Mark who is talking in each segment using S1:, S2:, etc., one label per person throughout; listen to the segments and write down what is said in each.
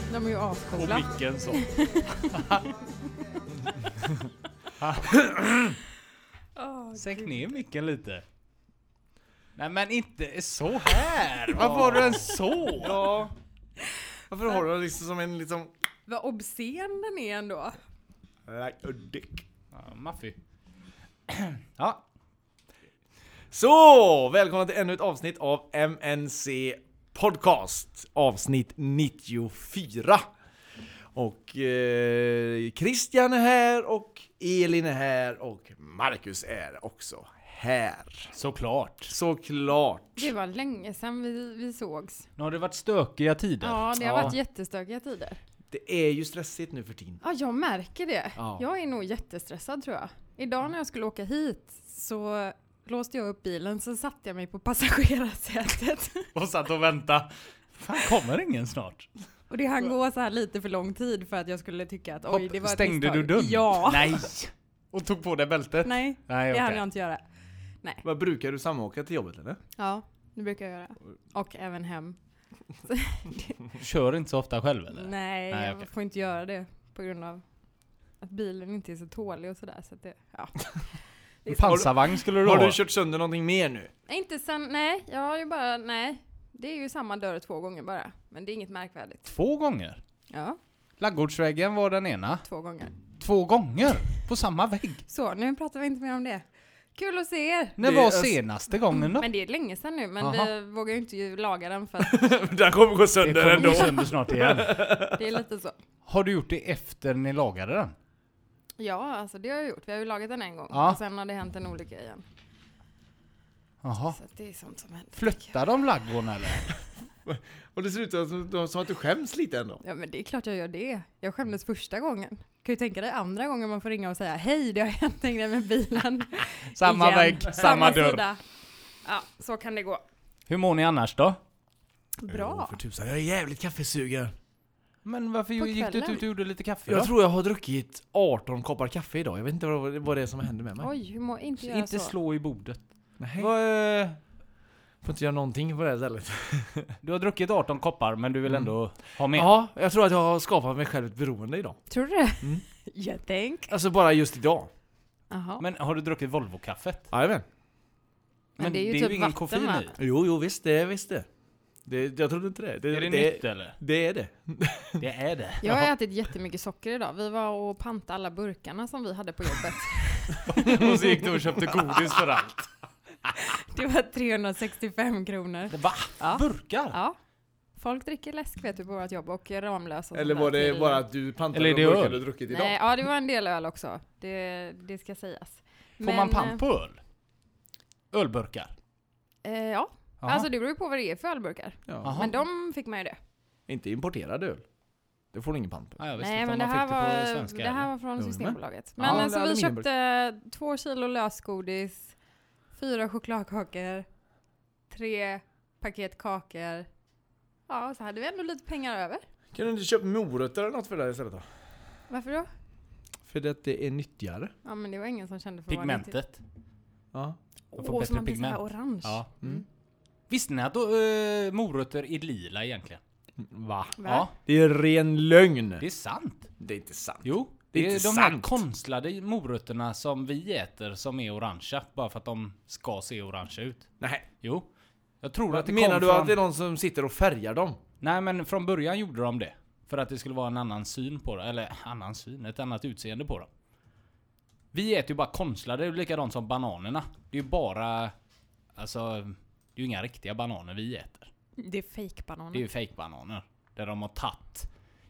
S1: Och
S2: privatskola.
S1: blicken så.
S2: Åh,
S1: Sänk
S2: gud.
S1: ner micken lite. Nej men inte så här! Varför har du den så?
S3: Ja. Varför har du den liksom som en liksom...
S2: Vad obscen den är ändå.
S3: Like a dick.
S1: Ja, Maffy. Ja,
S3: Så! Välkomna till ännu ett avsnitt av MNC Podcast. Avsnitt 94. Och eh, Christian är här och Elin är här och Marcus är också här.
S1: såklart.
S3: Såklart.
S2: Det var länge sedan vi, vi sågs.
S1: Nu har det varit stökiga tider.
S2: Ja, det har
S3: Ja.
S2: varit jättestökiga tider.
S3: Det är ju stressigt nu för tiden.
S2: Ja, jag märker det.
S3: Ja.
S2: Jag är nog jättestressad tror jag. Idag när jag skulle åka hit så låste jag upp bilen, sen satte jag mig på passagerarsätet.
S1: Och satt och väntade. Fan, kommer ingen snart?
S2: Och det hann gå så här lite för lång tid för att jag skulle tycka att oj, det var ett
S1: Stängde du
S2: misstag.
S1: dörren?
S2: Ja.
S1: Nej! Och tog på dig bältet?
S2: Nej,
S1: Nej,
S2: det
S1: okej.
S2: hann jag inte göra.
S3: Vad brukar du samåka till jobbet eller?
S2: Ja, det brukar jag göra. Och även hem.
S1: Kör inte så ofta själv eller?
S2: Nej,
S1: Nej,
S2: jag
S1: okej.
S2: får inte göra det på grund av att bilen inte är så tålig och sådär. Så att det, ja.
S1: En pansarvagn skulle du
S3: Har
S1: ha.
S3: du kört sönder någonting mer nu?
S2: Nej, Inte sen, nej, jag har ju bara, nej. Det är ju samma dörr två gånger bara. Men det är inget märkvärdigt.
S1: Två gånger?
S2: Ja,
S1: Laggårdsväggen var den ena.
S2: två gånger.
S1: Två gånger? På samma vägg?
S2: Så, nu pratar vi inte mer om det. Kul att se er!
S1: När
S3: Det
S1: var
S3: är-
S1: senaste gången då?
S2: Men det är länge sedan nu, men
S1: Aha.
S2: vi vågar ju inte ju laga den för att
S3: Den kommer gå
S1: Det
S3: sönder
S1: kommer
S3: ändå.
S1: gå sönder snart igen.
S2: det är lite så.
S1: Har du gjort det efter ni lagade den?
S2: Ja, alltså det har jag gjort. Vi har ju lagat den en gång
S1: Ja.
S2: och sen har det hänt en olycka igen.
S1: Jaha.
S2: Så att det är sånt som händer.
S1: Flyttar de laggården eller?
S3: Och det ser ut som- som att du skäms lite ändå.
S2: Ja, men det är klart jag gör det. Jag skämdes första gången. Kan ju tänka dig andra gången man får ringa och säga hej, det har hänt en grej med bilen.
S1: Samma
S2: igen.
S1: vägg, samma, dörr.
S2: sida. Ja, så kan det gå.
S1: Hur mår ni annars då?
S3: Jo,
S2: Bra.
S3: för
S1: typ
S3: tusan, jag är jävligt kaffesugen.
S1: Men varför
S2: På
S1: gick du
S2: kvällen.
S1: ut och gjorde lite kaffe
S3: Jag
S1: då?
S3: tror jag har druckit 18 koppar kaffe idag. Jag vet inte vad, vad det är som händer med mig.
S2: Oj, hur mår inte jag
S1: Inte
S2: så?
S1: slå i bordet.
S3: Nej.
S1: Vad, eh,
S3: Får inte göra någonting på det här stället.
S1: Du har druckit 18 koppar men du vill
S3: Mm.
S1: ändå ha mer?
S3: Ja, jag tror att jag har skapat mig själv ett beroende idag.
S2: Tror du det?
S3: Mm.
S2: Jag tänk.
S3: Alltså bara just idag.
S2: Jaha. Men,
S1: Men har du druckit Volvo-kaffet?
S3: Jajamän.
S1: Men,
S2: det är ju typ
S1: ingen
S2: vatten
S1: koffein
S2: va?
S1: i.
S3: Jo, jo visst, det visst det. det. Jag trodde inte det. det
S1: Är det,
S3: det,
S1: nytt eller?
S3: det är det.
S1: Det är det.
S2: Jag har ätit jättemycket socker idag. Vi var och pantade alla burkarna som vi hade på jobbet.
S1: och så gick du och köpte godis för allt.
S2: Det var 365 kronor.
S1: Va?
S2: Ja.
S1: Burkar?
S2: Ja. Folk dricker läsk vet du på vårt jobb och Ramlösa. och
S3: Eller
S2: sånt
S3: var
S2: där
S3: det
S2: till-
S3: bara att du pantade
S1: Eller är det
S3: de burkar
S1: öl?
S3: du druckit idag?
S2: Nej, ja det var en del öl också. Det, det ska sägas.
S1: Får
S2: Men,
S1: man pant på öl? Ölburkar?
S2: Eh, ja,
S1: Jaha.
S2: alltså det beror ju på vad det är för ölburkar.
S3: Ja.
S1: Jaha.
S2: Men de fick man ju det.
S3: Inte importerad öl. Det får du ingen pant på.
S1: Ja, jag visste
S2: Nej
S1: inte om
S2: men det
S1: man
S2: här,
S1: fick det på
S2: var,
S1: svenska
S2: det här
S1: heller.
S2: var från
S3: Jo, men.
S2: Systembolaget.
S3: Ja,
S2: Men
S3: en
S2: alltså vi
S3: aluminiumburk.
S2: köpte två kilo lösgodis, fyra chokladkakor, tre paket kakor. Ja, så hade vi ändå lite pengar över.
S3: Kan du inte köpa morötter eller något för det här istället då?
S2: Varför då?
S3: För att det är nyttigare.
S2: Ja men det var ingen som kände för vad
S1: Pigmentet.
S3: Ja.
S2: det
S1: Man får
S2: Åh,
S1: bättre
S2: så man blir såhär
S1: pigment.
S2: orange.
S1: Ja.
S3: Mm.
S1: Visste ni att äh, morötter är lila egentligen?
S3: Va?
S2: Va?
S1: Ja,
S3: Det är ren lögn.
S1: det är sant.
S3: Det är inte sant.
S1: Jo,
S3: Det är
S1: det är,
S3: inte
S1: de här
S3: sant.
S1: konstlade morötterna som vi äter som är orangea. Bara för att de ska se orangea ut.
S3: Nej.
S1: Jo. Jag tror att det
S3: Menar
S1: kom
S3: du
S1: från...
S3: att det är någon som sitter och färgar dem?
S1: Nej men från början gjorde de det. För att det skulle vara en annan syn på det. Eller annan syn, ett annat utseende på dem. Vi äter ju bara konstlade, det är ju likadant som bananerna. Det är ju bara... Alltså, det är ju inga riktiga bananer vi äter.
S2: Det är
S1: Det är
S2: fejkbananer.
S1: ju fejkbananer. Där de har tagit.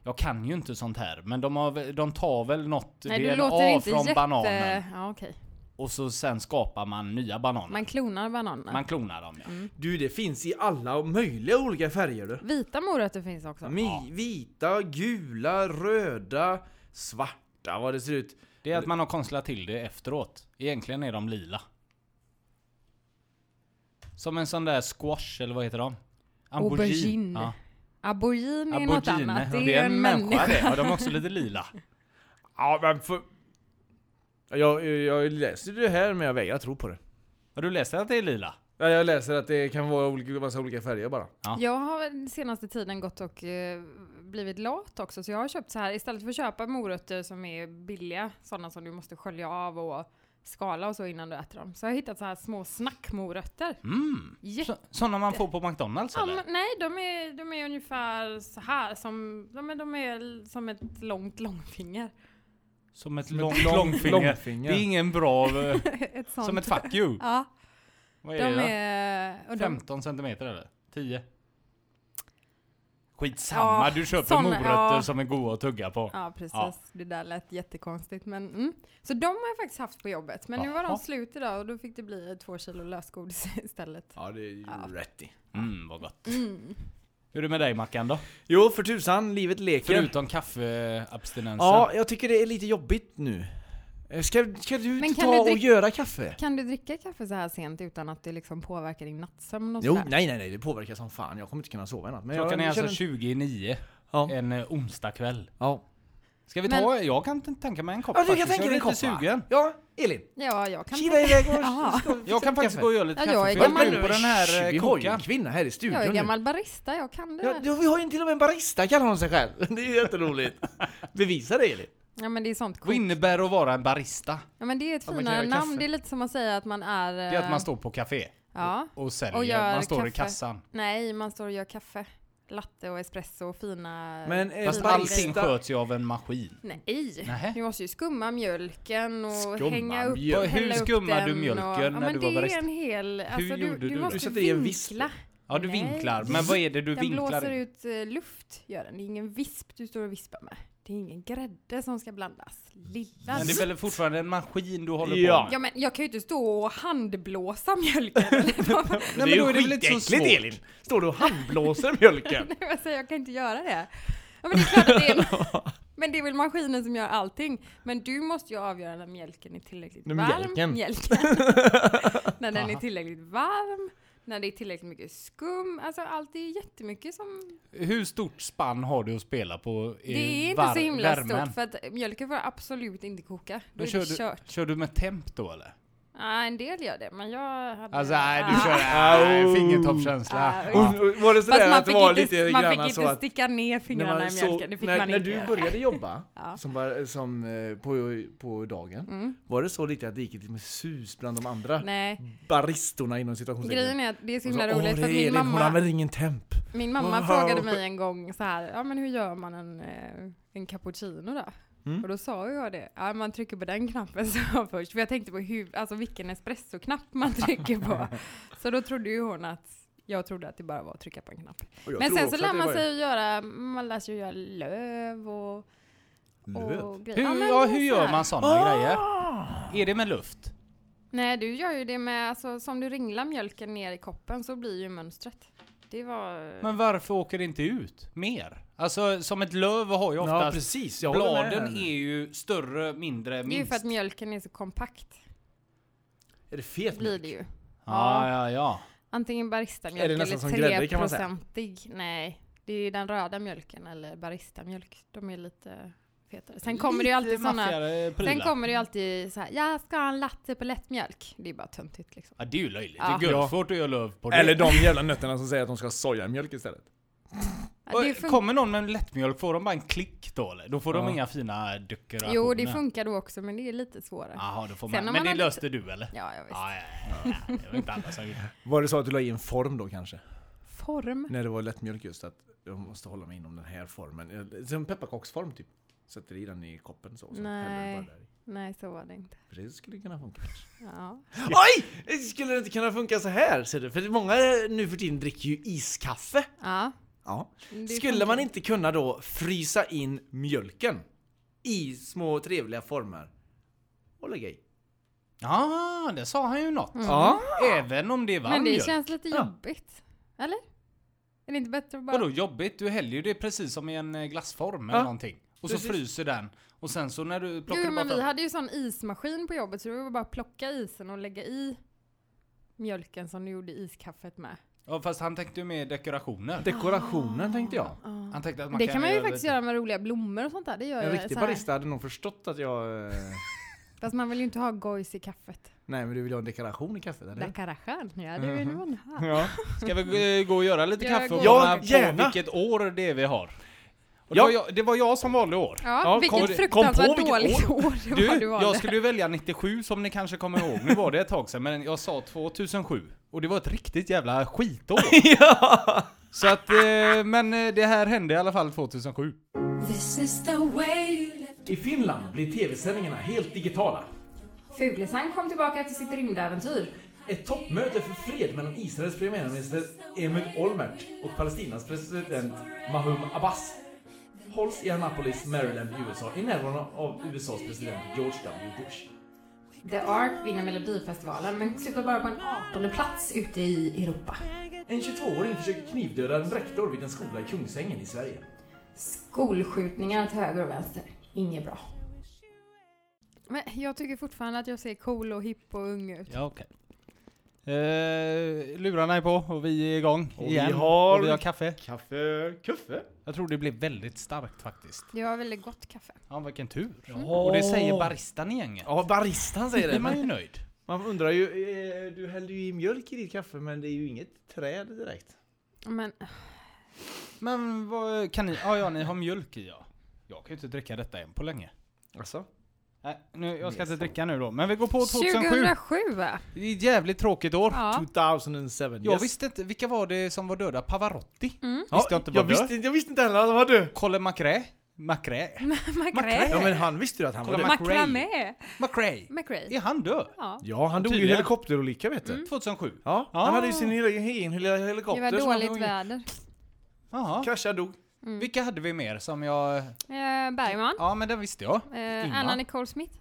S1: Jag kan ju inte sånt här, men de, har, väl- de tar väl något,
S2: Nej
S1: det är
S2: du
S1: en
S2: låter
S1: A
S2: inte
S1: från
S2: jätte...
S1: bananen.
S2: Ja okej.
S1: Och så sen skapar man nya bananer. Man,
S2: Man Mm. klonar bananerna.
S1: klonar dem ja.
S3: Du, det finns i alla möjliga olika färger du.
S2: Vita morötter finns också.
S3: Mi- Vita, gula, röda, svarta vad det ser ut.
S1: Det är att man har konstlat till det efteråt. Egentligen är de lila. Som en sån där squash, eller vad heter de?
S2: Aubergine.
S1: Ja.
S2: Aubergine är något
S1: Aubergine.
S2: annat.
S1: Det, det är en människa det. Ja,
S2: människa.
S1: de är också lite lila.
S3: Ja, men för... Jag, jag läser det här men jag vägrar tro på det.
S1: Har du läst att det är lila?
S3: Ja, jag läser att det kan vara olika, massa olika färger bara.
S1: Ja.
S2: Jag har den senaste tiden gått och eh, blivit lat också, så jag har köpt så här istället för att köpa morötter som är billiga, sådana som du måste skölja av och skala och så innan du äter dem, så har jag hittat så här små snackmorötter.
S1: Mm.
S2: Jätte-
S1: Så, såna man får på McDonalds
S2: Ja,
S1: eller?
S2: men, nej, de är, de är ungefär så här som, de är, de är l- som ett långt långfinger.
S1: Som ett
S3: Som ett
S1: långt
S3: lång-
S1: långfinger. Det
S3: långfinger.
S1: är ingen bra... eh,
S2: ett sånt.
S1: som ett fuck you.
S2: Ja,
S1: Vad
S2: de
S1: är det
S2: är...
S1: då?
S2: och de-
S1: 15 centimeter eller? 10? Skitsamma,
S2: Ja,
S1: du köper
S2: sån-
S1: morötter
S2: ja.
S1: som är goda att tugga på.
S2: Ja precis,
S1: Ja.
S2: det där lät jättekonstigt. Men, mm. Så de har jag faktiskt haft på jobbet, men nu var
S1: Jaha.
S2: de slut idag och då fick det bli två kilo lösgodis istället.
S3: Ja, det är ju
S2: Ja.
S3: rätt i.
S1: Mm, vad gott. Hur är det med dig Mackan då?
S3: Jo, för tusan, livet leker.
S1: Förutom kaffeabstinensen.
S3: Ja, jag tycker det är lite jobbigt nu. Eh, Ska, ska du
S2: Men
S3: inte
S2: kan
S3: ta
S2: du
S3: och
S2: drick-
S3: göra kaffe?
S2: Kan du dricka kaffe så här sent utan att det liksom påverkar din nattsömn och
S3: Jo,
S2: sådär?
S3: nej nej nej, det påverkar som fan. Jag kommer inte kunna sova i natt. Men
S1: Klockan
S3: jag,
S1: är alltså
S3: känner-
S1: 20 i nio
S3: Ja.
S1: en eh, onsdagkväll.
S3: Ja.
S1: Ska vi ta...
S2: Men-
S1: Jag kan t- tänka mig en kopp
S3: ja, du kan
S1: faktiskt.
S3: tänka
S1: jag
S3: dig en
S1: är
S3: kopp
S1: lite sugen.
S3: va? Ja, Elin.
S2: Ja, jag kan
S3: Kila iväg och
S2: Jaha.
S3: ska vi fixa
S1: Jag kan faktiskt
S3: kaffe?
S1: gå och göra lite
S2: Ja,
S1: kaffe.
S2: jag är
S1: för jag
S2: gammal.
S1: tror på den
S3: Shh,
S1: här
S3: Vi
S1: eh,
S3: har ju en
S1: kokan.
S3: kvinna här i studion
S2: Jag är
S3: nu.
S2: gammal barista, jag kan det
S3: Ja,
S2: där.
S3: ja, vi har ju till och med en barista kallar hon sig själv. Det är ju jätteroligt. Bevisa det Elin.
S2: Ja men det är sånt
S1: Vad
S2: coolt.
S1: innebär att vara en barista?
S2: Ja men det är ett
S3: Ja, man kan
S2: finare
S3: göra
S2: namn,
S3: kaffe.
S2: det är lite som att säga att man är... eh,
S1: Det är att man står på café
S2: Ja.
S1: och säljer.
S2: Och gör
S1: man står i
S2: kaffe.
S1: kassan.
S2: Nej, man står och gör kaffe. Latte och espresso och fina...
S3: Men, eh,
S1: Fast
S2: fina
S1: allting
S3: barista-
S1: sköts ju av en maskin.
S2: Nej,
S1: Nähä.
S2: du måste ju skumma mjölken och
S3: Skumma
S2: hänga upp
S3: mjölk.
S2: och
S1: Hur
S2: hälla upp
S1: skummar
S2: den
S1: du mjölken
S2: och,
S1: när
S2: ja, men
S1: du var barista?
S2: Det är en hel... Alltså, du,
S1: gjorde
S2: du,
S1: du då?
S2: måste
S3: Du sätter i
S2: vinkla.
S3: en visp.
S1: Ja, du
S2: Nej.
S1: vinklar. Men vad är det du
S2: den
S1: vinklar
S2: blåser
S1: i?
S2: ut eh, luft, gör den. Det är ingen visp du står och vispar med. Det är ingen grädde som ska blandas. Lilla
S1: Men det är väl fortfarande en maskin du håller
S3: Ja.
S1: på med?
S2: Ja men jag kan ju inte stå och handblåsa mjölken. eller vad man-
S1: men då är det väl inte så svårt.
S3: skitäckligt, Elin. Står du och handblåser mjölken?
S2: Nej, men alltså, jag kan inte göra det. Ja, men det är klart att det är Men det är väl maskinen som gör allting. Men du måste ju avgöra när mjölken är tillräckligt
S3: Men
S2: varm.
S3: mjölken.
S2: Mjölken. när den är tillräckligt varm. När det är tillräckligt mycket skum. Alltså allt är jättemycket som...
S1: Hur stort spann har du att spela på i
S2: det är inte
S1: var-
S2: så himla
S1: värmen?
S2: stort för att mjölken får absolut inte koka. Då
S1: Men
S2: är det
S1: kör,
S2: kört.
S1: du, kör du med temp då eller?
S2: Nej, en del gör det men jag hade...
S1: Alltså nej, du
S2: Ah.
S1: kör nej,
S3: Au.
S1: fingertoppskänsla.
S2: Ah,
S1: Ja.
S3: Var det
S2: Fast
S3: sådär
S2: man
S3: att det var
S2: fick
S3: lite
S2: inte, man fick
S3: grann så
S2: inte
S3: att...
S2: sticka ner fingrarna i
S3: så-
S2: mjölken. det fick
S3: när,
S2: man
S3: när
S2: inte
S3: du
S2: göra.
S3: började jobba
S2: Ja. Mm.
S3: som, var, som eh, på, på dagen, var det så lite att det gick lite med sus bland de andra
S2: Nej.
S3: baristorna inom situationstecken?
S2: Grejen är att det är så
S3: Och så,
S2: himla
S3: "Åh,
S2: roligt
S3: det
S2: för att
S3: är
S2: min
S3: Elin, Alltså, Hon
S2: mamma,
S3: använder ingen temp.
S2: min mamma
S3: Wow.
S2: frågade mig en gång så här, ja men hur gör man en, eh, en cappuccino då?
S3: Mm.
S2: Och då sa jag det, ja man trycker på den knappen som var först, för jag tänkte på hur, alltså vilken espressoknapp man trycker på. så då trodde ju hon att jag trodde att det bara var att trycka på en knapp.
S3: Och jag
S2: Men
S3: tror
S2: sen så
S3: också
S2: lär
S3: att det
S2: man
S3: var-
S2: sig att göra, man lär sig att göra löv och,
S3: Löv?
S2: och Ah! grejer.
S1: Hur,
S2: men
S1: ja,
S2: så
S1: hur
S2: här.
S1: gör man sådana grejer? Är det med luft?
S2: Nej, du gör ju det med, alltså som du ringlar mjölken ner i koppen så blir ju mönstret. Det var...
S1: Men varför åker det inte ut mer? Alltså som ett löv har ju
S3: Ja,
S1: oftast...
S3: precis. Jag håller med
S1: bladen
S3: henne.
S1: är ju större, mindre,
S2: Det är ju
S1: minst.
S2: för att mjölken är så kompakt,
S3: Är det fet
S2: blir
S3: mjölk?
S2: det ju.
S1: Ja, ja, ja.
S2: Antingen
S3: Är
S2: baristamjölk
S3: det nästan som
S2: eller
S3: grädde, kan man säga?
S2: 3-procentig. Nej, det är ju den röda mjölken eller baristamjölk. De är lite fetare. Sen kommer det ju alltid såna...
S1: maffigare prylar.
S2: Sen kommer det ju alltid så här, jag ska ha en latte på lättmjölk. Det är bara töntigt liksom.
S1: Ja, det är ju löjligt.
S2: Ja.
S1: Det är gött svårt att göra löv på det.
S3: Eller de jävla nötterna som säger att de ska ha sojamjölk istället.
S2: Ja, det
S1: Och
S2: fun-
S1: Kommer någon med en lättmjölk får de bara en klick då eller? Då får
S3: Ja.
S1: de inga fina dekorationer.
S2: jo, det funkar då också, men det är lite svårare.
S1: Jaha, då får
S2: Sen
S1: man.
S2: om
S1: Men
S2: man
S1: det
S2: har lite-
S1: löste du eller?
S2: Ja, ja visst.
S1: Ja, ja, ja, ja. Det var inte alla som gjorde.
S3: Var det så att du la i en form då kanske?
S2: Form.
S3: När det var lättmjölk just att jag måste hålla mig inom den här formen. Eh, Som pepparkaksform typ. Sätter i den i koppen så. och så
S2: Nej.
S3: häller du bara där i.
S2: Nej, så var det inte.
S3: För det skulle kunna funka.
S2: Ja.
S3: Oj! Det Skulle det inte kunna funka så här? Ser du? För många nu för tiden dricker ju iskaffe.
S2: ja
S3: Ja.
S2: det
S3: Skulle
S2: funkar.
S3: man inte kunna då frysa in mjölken i små trevliga former och lägga i?
S1: Ja, det sa han ju något.
S3: Ja.
S1: Även om det är varm
S2: Mm. Men det
S1: mjölk.
S2: känns lite
S3: Ja.
S2: jobbigt. Eller? Är det inte bättre att bara...
S1: Vadå jobbigt? Du häller ju det precis som i en eh, glassform eller
S3: Ja,
S1: någonting. Och så
S3: precis.
S1: fryser den. Och sen så när du plockar
S2: Jo,
S1: du bara
S2: men vi
S1: fram-
S2: hade ju sån ismaskin på jobbet så det var bara att plocka isen och lägga i mjölken som du gjorde iskaffet med.
S1: Ja fast han tänkte ju mer dekorationer.
S3: Dekorationen tänkte jag.
S2: Ah.
S1: Han tänkte att man
S2: det kan man ju
S1: göra
S2: faktiskt
S1: lite-
S2: göra med roliga blommor och sånt där. Det gör
S3: En
S2: jag
S3: riktig
S2: så här.
S3: barista hade nog förstått att jag... eh,
S2: Fast man vill ju inte ha gojs i kaffet.
S3: Nej men du vill ha en deklaration i kaffet eller?
S2: Dakarachan, ja det vill man ha.
S1: Mm-hmm. Ja. Ska vi eh, gå och göra lite
S2: Ja,
S1: kaffe och
S2: gå.
S1: kolla
S3: Ja,
S1: på
S3: gärna.
S1: vilket år det är vi har? Och det,
S3: Ja.
S1: var jag, det var jag som valde år.
S2: Ja,
S3: Ja,
S2: vilket
S3: kom- kom
S2: fruktansvärt
S3: på vilket
S2: dåligt år, det
S1: Du,
S2: var du valde.
S1: jag skulle ju välja 97 som ni kanske kommer ihåg. Nu var det ett tag sedan, men jag sa 2007. Och det var ett riktigt jävla skitår. Så att, eh, men eh, det här hände i alla fall 2007.
S4: This is the way you
S3: I Finland blir tv-sändningarna helt digitala.
S2: Fuglesang kom tillbaka efter sitt rymdäventyr.
S3: Ett toppmöte för fred mellan Israels premiärminister Emil Olmert och Palestinas president Mahmoud Abbas hålls i Annapolis, Maryland, USA i närvaro av USAs president George W. Bush.
S2: The Ark vinner Melodifestivalen men slutar bara på en 18 plats ute i Europa.
S3: En 22-åring försöker knivdöda en rektor vid en skola i Kungsängen i Sverige.
S2: Skolskjutningar till höger och vänster. Inget bra. Men jag tycker fortfarande att jag ser cool och hipp och ung ut.
S1: Ja, okej. Eh, lurarna är på och vi är igång
S3: Och vi
S1: igen.
S3: har-
S1: Och vi har kaffe.
S3: Kaffe, kaffe.
S1: Jag tror det blev väldigt starkt faktiskt.
S2: Det var väldigt gott kaffe.
S1: Ja, vilken tur. Och det säger baristan i gänget.
S3: Ja, baristan säger
S1: Då är
S3: det.
S1: man ju
S3: Man,
S1: nöjd.
S3: man undrar ju, eh, du hällde ju i mjölk i ditt kaffe men det är ju inget träd direkt.
S2: Men
S1: Men vad kan ni? Ja, ja, ni har mjölk i ja. Jag kan ju inte dricka detta än på länge.
S3: Alltså?
S1: Nej, nu, jag ska inte dricka nu då. Men vi går på 2007.
S2: 2007 va?
S1: Det är ett jävligt tråkigt år.
S2: Ja.
S3: 2007,
S1: Jag
S3: yes.
S1: visste inte, vilka var det som var döda? Pavarotti?
S3: Ja,
S1: Visste jag inte var död.
S3: jag visste, jag visste inte heller att han var död.
S1: Colin McRae? McRae?
S2: Macrae.
S3: Ja men han visste ju att han var
S1: Kolla
S3: död.
S1: Mac-
S2: Macramé.
S1: McRae?
S2: Macrae.
S1: Är han död?
S2: Ja.
S3: Ja, han dog ju i
S1: Tydligen. Ah.
S3: helikopterolycka vet du.
S1: 2007?
S3: Ja,
S1: Ja.
S3: han hade ju sin egen lilla
S2: Mm. Det
S3: helikopter.
S2: var
S3: som han
S2: dåligt
S3: tog-
S2: väder.
S1: Jaha.
S3: Kraschade, dog.
S1: Vilka hade vi mer som jag...
S2: Eh, Bergman.
S1: Ja men det visste jag.
S2: Eh, Anna Nicole Smith.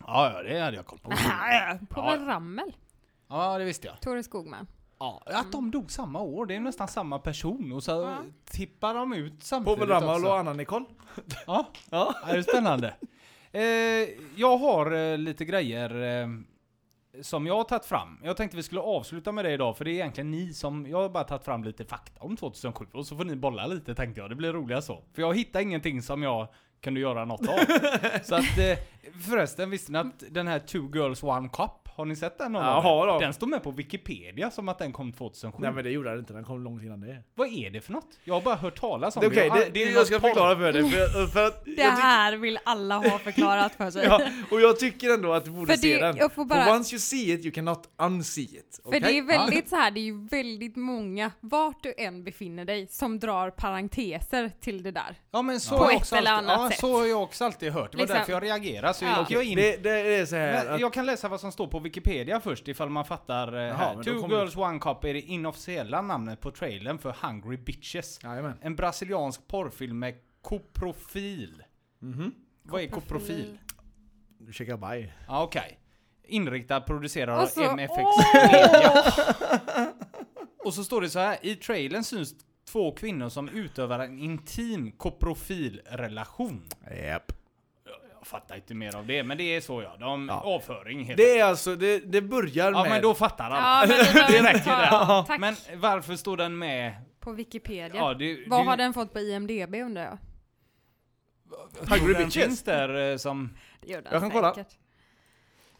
S1: Ja, ja det hade jag koll på.
S2: Povel
S1: ja,
S2: Ramel.
S1: ja det visste jag.
S2: Tore Skogman.
S1: Ja, att de dog samma år, det är nästan samma person och så tippar de ut samtidigt
S3: Povel Ramel
S1: också. Mm.
S3: och Anna-Nicole.
S1: Ja,
S3: Ja.
S1: Ja, det är spännande. Eh, jag har eh, lite grejer eh, som jag har tagit fram. Jag tänkte vi skulle avsluta med det idag, för det är egentligen ni som... Jag har bara tagit fram lite fakta om 2007, och så får ni bolla lite tänkte jag. Det blir roligare så. För jag hittar ingenting som jag kunde göra något av. så att, eh, förresten, visste ni att den här Two Girls One Cup, har ni sett den någon
S3: Ja,
S1: gång?
S3: har de.
S1: Den står med på Wikipedia som att den kom 2007.
S3: Nej men det gjorde han inte, den kom långt innan det.
S1: Vad är det för något? Jag har bara hört talas om
S3: Okej,
S1: det.
S3: det, det, jag ska förklara för dig. För, för att,
S2: Det
S3: jag tycker,
S2: här vill alla ha förklarat för sig.
S3: ja, och jag tycker ändå att du borde
S2: För
S3: se
S2: det-
S3: den.
S2: jag får bara-
S3: For once you see it, you cannot unsee it.
S2: För
S3: Okej?
S2: det är väldigt så här, det är ju väldigt många, vart du än befinner dig, som drar parenteser till det där.
S1: Ja men så
S2: På
S1: har jag
S2: ett
S1: också
S2: eller
S1: alltid,
S2: annat
S1: ja,
S2: sätt.
S1: så har jag också alltid hört. Det var
S2: Liksom-
S1: därför jag reagerade. Så jag
S2: Ja.
S1: gick jag in.
S3: det, det är så här
S1: men
S3: att,
S1: jag kan läsa vad som står på Wikipedia först ifall man fattar. eh,
S3: Jaha,
S1: här.
S3: men då
S1: Two
S3: kommer-
S1: Girls One Cup är det inofficiella namnet på trailern för Hungry Bitches.
S3: Jajamän.
S1: En brasiliansk porrfilm med koprofil.
S3: Mhm.
S1: Vad är koprofil?
S3: Du checkar baj.
S1: Ja okej. Inriktad, producerad
S2: Och så-
S1: av MFX Och så står det så här. I trailern syns två kvinnor som utövar en intim koprofilrelation.
S3: Yep.
S1: Jag fattar inte mer av det, men det är så ja. De
S3: Ja.
S1: avföring helt
S3: Det är alltså, det, det börjar
S1: Ja
S3: med...
S1: men då fattar alla.
S2: Ja, men vi behöver inte
S1: räcker
S2: ta-
S1: där.
S2: Tack.
S1: Men varför står den med?
S2: På Wikipedia.
S1: Ja, det,
S2: Vad
S1: det,
S2: har den fått på IMDB undrar jag?
S3: Hungry
S1: den
S3: bitches.
S1: finns där eh, som...
S2: Det gör den
S3: Jag kan kolla.
S2: säkert.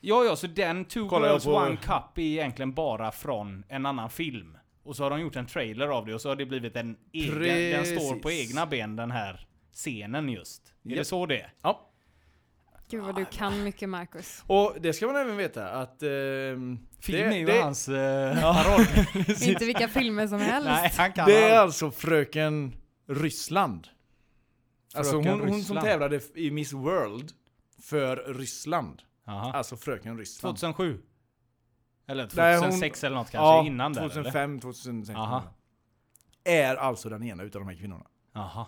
S1: Ja ja, så den Two
S3: Kollar jag
S1: Girls
S3: på-
S1: One Cup är egentligen bara från en annan film. Och så har de gjort en trailer av det och så har det blivit en egen... Den står på
S3: Precis.
S1: egna ben den här scenen just. Är det
S3: Japp.
S1: så det är?
S3: Ja.
S2: Gud vad du kan mycket Marcus.
S3: Och det ska man även veta att... ehm,
S1: Film
S3: det,
S1: är ju
S3: det,
S1: hans eh, paroll.
S2: Inte vilka filmer som helst.
S1: Nej, han kan
S3: Det är
S1: allt.
S3: alltså fröken Ryssland. alltså hon,
S1: Fröken
S3: hon som
S1: Ryssland.
S3: tävlade f- i Miss World för Ryssland.
S1: Jaha.
S3: Alltså fröken Ryssland.
S1: 2007? Eller
S3: Nej, hon-
S1: 2006 eller något kanske,
S3: Ja,
S1: innan där eller?
S3: 2005, 2006.
S1: Aha.
S3: Är alltså den ena utav de här kvinnorna.
S1: Jaha.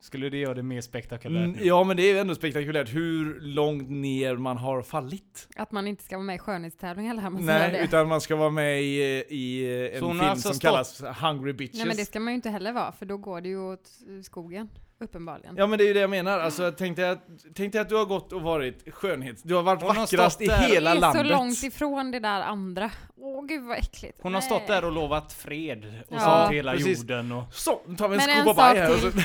S1: Skulle det göra det mer spektakulärt
S3: Mm,
S1: nu?
S3: ja men det är ju ändå spektakulärt hur långt ner man har fallit.
S2: Att man inte ska vara med i skönhetstävlingar eller här man säger
S3: Nej,
S2: det.
S3: utan man ska vara med i, eh, i en
S1: Så hon har
S3: film
S1: alltså
S3: som
S1: stått-
S3: kallas Hungry Bitches.
S2: Nej men det ska man ju inte heller vara för då går det ju åt skogen. Uppenbarligen.
S3: Ja men det är ju det jag menar. Alltså, tänk, dig att, tänk dig att du har gått och varit skönhet. Du har varit
S1: Hon har
S3: vackrast
S1: stått
S3: i
S1: där.
S3: hela
S2: det är
S3: landet.
S2: så långt ifrån det där andra. Åh gud vad äckligt.
S1: Hon har
S2: Nej.
S1: stått där och lovat fred och
S2: Ja.
S1: sånt till hela
S3: Precis.
S1: jorden och...
S3: Så, nu tar vi en
S2: Men en
S3: skopa
S2: sak
S3: baj här. Och så,
S2: till.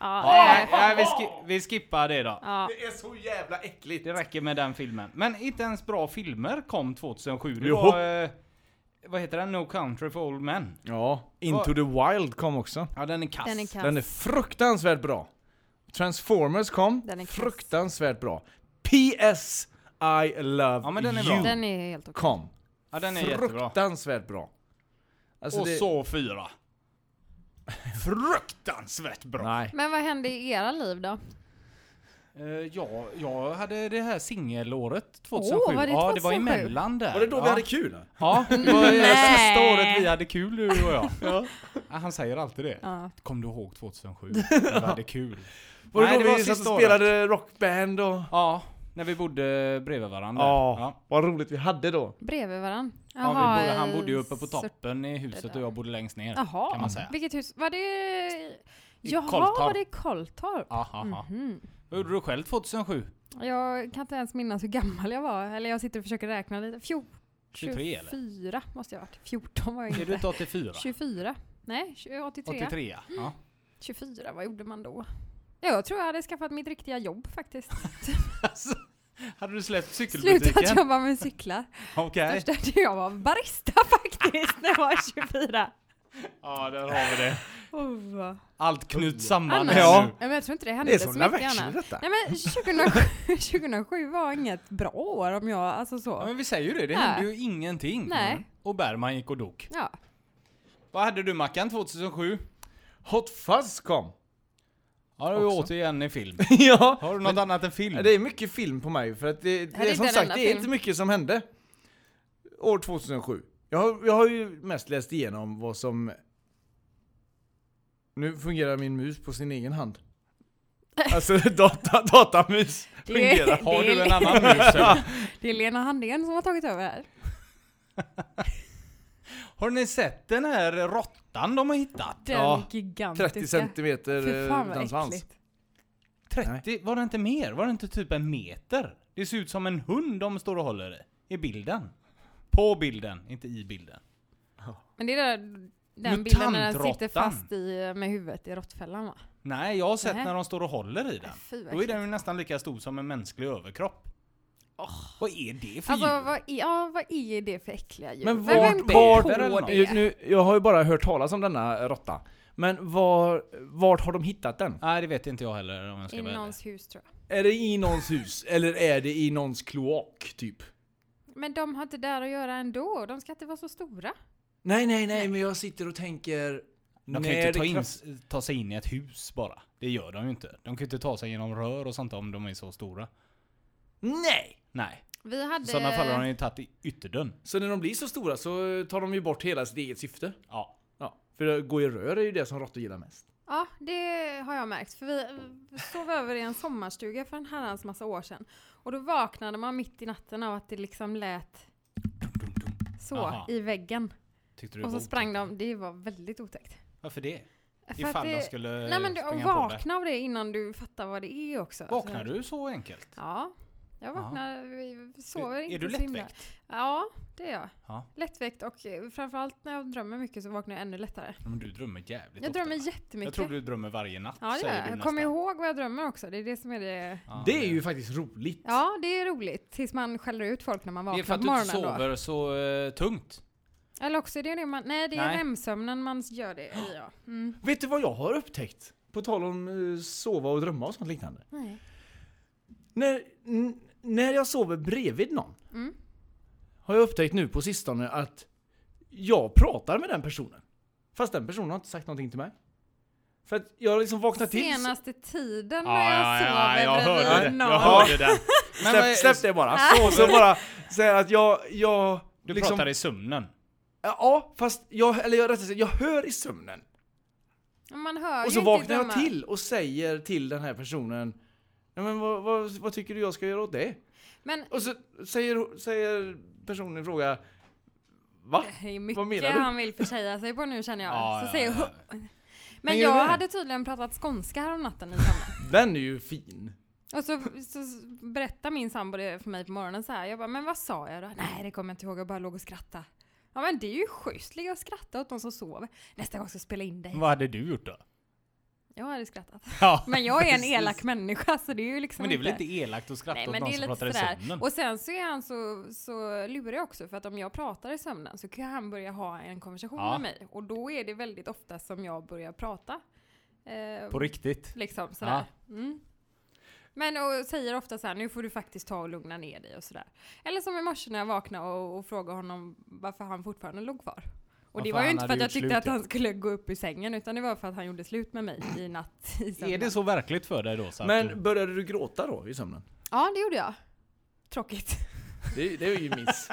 S2: Ja,
S1: Nej, nej,
S2: nej.
S1: vi, ski- vi skippar det då.
S2: ja.
S3: Det är så jävla äckligt!
S1: Det räcker med den filmen. Men inte ens bra filmer kom 2007. Det
S3: Joho.
S1: var, eh, vad heter den? No Country for Old Men.
S3: Ja, Into the Wild kom också.
S1: Ja den är kass.
S2: Den är kass.
S3: Den är fruktansvärt bra. Transformers kom,
S2: Den är kass.
S3: fruktansvärt bra. PS I Love
S1: Ja, men den är bra.
S3: You
S2: Den är helt okej.
S3: kom.
S1: ja, den är jättebra.
S3: fruktansvärt bra. Alltså
S1: Och
S3: det-
S1: så fyra. Fruktansvärt bra.
S3: Nej.
S2: Men vad hände i era liv då?
S1: Eh, ja, jag hade det här singelåret 2007.
S2: Åh, var det
S1: Ja, det var
S2: 2007?
S1: emellan där.
S3: Var det då
S1: ja.
S3: vi hade kul? eller?
S1: Ja, det var det
S2: Nej.
S1: sista året vi hade kul du och jag. Ja, Han säger alltid det.
S2: Ja.
S1: Kom du ihåg 2007? När vi hade kul.
S3: Var det
S1: Nej,
S3: då
S1: det var
S3: vi satt
S1: sista
S3: och
S1: året.
S3: spelade rockband och...
S1: Ja, när vi bodde bredvid varandra.
S3: Ja, vad roligt vi hade då.
S2: Bredvid varandra?
S1: Ja, vi bodde, han
S2: i
S1: bodde ju uppe på
S2: Sört-
S1: toppen i huset
S2: där.
S1: och jag bodde längst ner.
S2: Jaha,
S1: kan man säga.
S2: vilket hus? Var det... Jaha,
S1: Kolltorp.
S2: var det i Kolltorp?
S1: Aha,
S2: Mm.
S1: Vad gjorde du själv 2007?
S2: Jag kan inte ens minnas hur gammal jag var. Eller jag sitter och försöker räkna lite. 14,
S1: 23 eller?
S2: 24 måste jag ha varit. 14 var jag
S1: Är du
S2: inte.
S1: inte 84?
S2: 24? Nej, 20- 83.
S1: 83 ja.
S2: 24, vad gjorde man då? Ja, jag tror jag hade skaffat mitt riktiga jobb faktiskt.
S1: Alltså, hade du släppt
S2: Slutat
S1: cykelbutiken?
S2: jobba med cyklar.
S1: Okej.
S2: Först hade jag var barista faktiskt när jag var 24.
S1: Ja, där har vi det.
S2: Oh.
S1: Allt knyts samman
S2: Annars,
S1: här
S3: Ja.
S2: ja.
S1: nu.
S2: men jag tror inte det hände
S3: Det är
S2: så
S3: såna
S2: mycket
S3: växlar
S2: annars.
S3: detta.
S2: Nej men 2007, 2007 var inget bra år om jag, alltså
S1: Ja,
S2: så.
S1: men vi säger ju det, det
S2: Nej.
S1: hände ju ingenting.
S2: Nej.
S1: Och Bergman gick och dog.
S2: Ja.
S1: Vad hade du Mackan 2007?
S3: Hot Fuzz kom.
S1: Ja, det var ju
S3: Också.
S1: återigen i film.
S3: ja.
S1: Har du något annat än film?
S3: Det är mycket film på mig för att det, det
S2: det
S3: är
S2: är
S3: som
S2: den
S3: sagt,
S2: enda
S3: det är
S2: film.
S3: inte mycket som hände. År 2007. Jag har, jag har ju mest läst igenom vad som... Nu fungerar min mus på sin egen hand. Alltså data, datamus
S2: Det-
S3: fungerar.
S1: Har
S2: Det är
S1: du en
S2: li-
S1: annan mus eller?
S2: Det är Lena Handén som har tagit över här.
S1: Har ni sett den här råttan de har hittat?
S2: Den
S3: Ja,
S2: gigantiska.
S3: 30 centimeter
S2: Fy fan
S3: eh,
S2: vad
S3: utan svans.
S2: äckligt.
S1: 30, var det inte mer? Var det inte typ en meter? Det ser ut som en hund de står och håller i. I bilden. På bilden, inte i bilden.
S2: Men det är där, den bilden när den sitter
S1: Mutantråttan.
S2: fast i, eh, med huvudet i råttfällan va?
S1: Nej, jag har sett
S2: Nähä.
S1: när de står och håller i den.
S2: Äh, Fy vad
S1: Då är
S2: äckligt.
S1: den ju nästan lika stor som en mänsklig överkropp. Vad är det för
S2: Alltså
S1: djur?
S2: vad är, ja, vad är det för äckliga djur?
S3: Men
S2: vem
S3: vart,
S1: vem
S3: vart,
S1: bär på
S3: ju-
S2: det?
S3: nu, jag har ju bara hört talas om denna råtta. Men var, vart har de hittat den?
S1: Nej, det vet inte jag heller om jag ska
S2: I
S1: vara ärlig.
S2: någons hus tror jag.
S3: Är det i någons hus eller är det i någons kloak typ?
S2: Men de har inte där att göra ändå. De ska inte vara så stora.
S3: Nej, nej, nej, men jag sitter och tänker...
S1: De
S3: när
S1: kan ju inte
S3: det
S1: ta, in,
S3: kraft-
S1: ta sig in i ett hus bara. Det gör de ju inte. De kan ju inte ta sig genom rör och sånt om de är så stora.
S3: Nej!
S1: Nej.
S2: Vi
S1: I
S2: hade...
S1: sådana fall har de ju tagit i ytterdörren.
S3: Så när de blir så stora så tar de ju bort hela sitt eget syfte.
S1: Ja.
S3: Ja. För att gå i rör är ju det som råttor gillar mest.
S2: Ja, det har jag märkt. För vi eh, sov över i en sommarstuga för en herrans massa år sedan. Och då vaknade man mitt i natten av att det liksom lät så
S1: Aha.
S2: i väggen.
S1: Tyckte du det
S2: Och så
S1: var
S2: sprang
S1: otäckt?
S2: de. Det var väldigt otäckt.
S1: Varför det?
S2: För att
S1: Ifall
S2: det,
S1: de skulle
S2: nej men du, och
S1: springa på dig.
S2: vakna av det innan du fattar vad det är också.
S1: Vaknar
S2: Så-
S1: du så enkelt?
S2: Ja. Jag vaknar, vi sover
S1: Är-
S2: inte
S1: är du
S2: så himla-
S1: lättväckt?
S2: Ja, det är jag.
S1: Ja.
S2: Lättväckt och eh, framförallt när jag drömmer mycket så vaknar jag ännu lättare.
S1: Men du drömmer jävligt
S2: Jag
S1: ofta.
S2: drömmer
S1: Jag
S2: jättemycket.
S1: tror du drömmer varje natt.
S2: ja, det
S1: säger
S2: gör
S1: du
S2: jag. Jag
S1: nästan.
S2: kommer ihåg vad jag drömmer också. Det är det som är det...
S1: Ja,
S3: Det är ju faktiskt roligt.
S2: Ja, det är roligt. Tills man skäller ut folk när man
S1: Alltså. Det är för
S2: vaknar
S1: att
S2: på
S1: du inte
S2: morgonen
S1: sover så eh, tungt.
S2: då. Eller också är det det man... Nej, det är
S1: Nej.
S2: REM-sömnen man gör det i. Ja. Mm.
S3: Vet du vad jag har upptäckt? På tal om eh, sova och drömma och sånt liknande.
S2: Nej.
S3: När, n- när jag sover bredvid någon
S2: Mm.
S3: har jag upptäckt nu på sistone att jag pratar med den personen. Fast den personen har inte sagt någonting till mig. För att jag har liksom vaknat till.
S2: Senaste tiden när jag sover bredvid någon.
S1: Jag hörde det. Men vad är-
S3: Släpp, släpp det bara. Så, så bara säga att jag... jag liksom-
S1: Du
S2: liksom-
S1: pratar i sömnen.
S3: Ja, fast jag, eller jag, rättare sagt, jag hör i sömnen.
S2: Man hör
S3: Och
S2: ju
S3: så
S2: inte i
S3: vaknar jag
S2: drömmar.
S3: till och säger till den här personen Nej men vad, vad, vad tycker du jag ska göra åt det?
S2: Men eh,
S3: Och så säger, säger personen i fråga Va?
S2: det är
S3: Vad menar
S2: mycket
S3: du?
S2: han vill försäga sig på nu känner jag.
S1: Ja,
S2: så
S1: ja,
S2: säger
S1: ja, ja.
S2: Men,
S3: Men gör
S2: jag
S3: det.
S2: hade tydligen pratat skånska häromnatten i sömnen.
S3: Den är ju fin.
S2: Och så, så berättar min sambo det för mig på morgonen så här. Jag bara, men vad sa jag då? Nej, det kommer jag inte ihåg. Jag bara låg och skrattade. Ja men det är ju schysst, ligga och skratta åt de som sover. Nästa gång ska jag spela in dig.
S1: Vad hade du gjort då?
S2: Jag hade skrattat.
S1: Ja.
S2: Men jag är en
S1: precis.
S2: elak människa så det är ju liksom
S1: Men det är väl inte elakt att skratta
S2: Nej
S1: åt
S2: men
S1: någon
S2: det är
S1: som
S2: lite
S1: pratar i
S2: sådär.
S1: sömnen?
S2: Och sen så är han så, så lurig också för att om jag pratar i sömnen så kan han börja ha en konversation
S1: Ja.
S2: med mig. Och då är det väldigt ofta som jag börjar prata. Eh,
S1: På riktigt?
S2: Liksom sådär. Mm. Men och säger ofta så här, nu får du faktiskt ta och lugna ner dig och sådär. Eller som i morse när jag vaknade och, och frågade honom varför han fortfarande låg kvar. Och
S1: Varför
S2: det var ju
S1: han
S2: inte för
S1: hade
S2: att jag
S1: gjort
S2: tyckte
S1: slut,
S2: att
S1: ja.
S2: han skulle gå upp ur sängen utan det var för att han gjorde slut med mig i natt i
S1: Är
S2: sömnen.
S1: det så verkligt för dig då? Så att du-
S3: Men började du gråta då i sömnen?
S2: Ja, det gjorde jag. Tråkigt.
S3: Det, det är ju miss.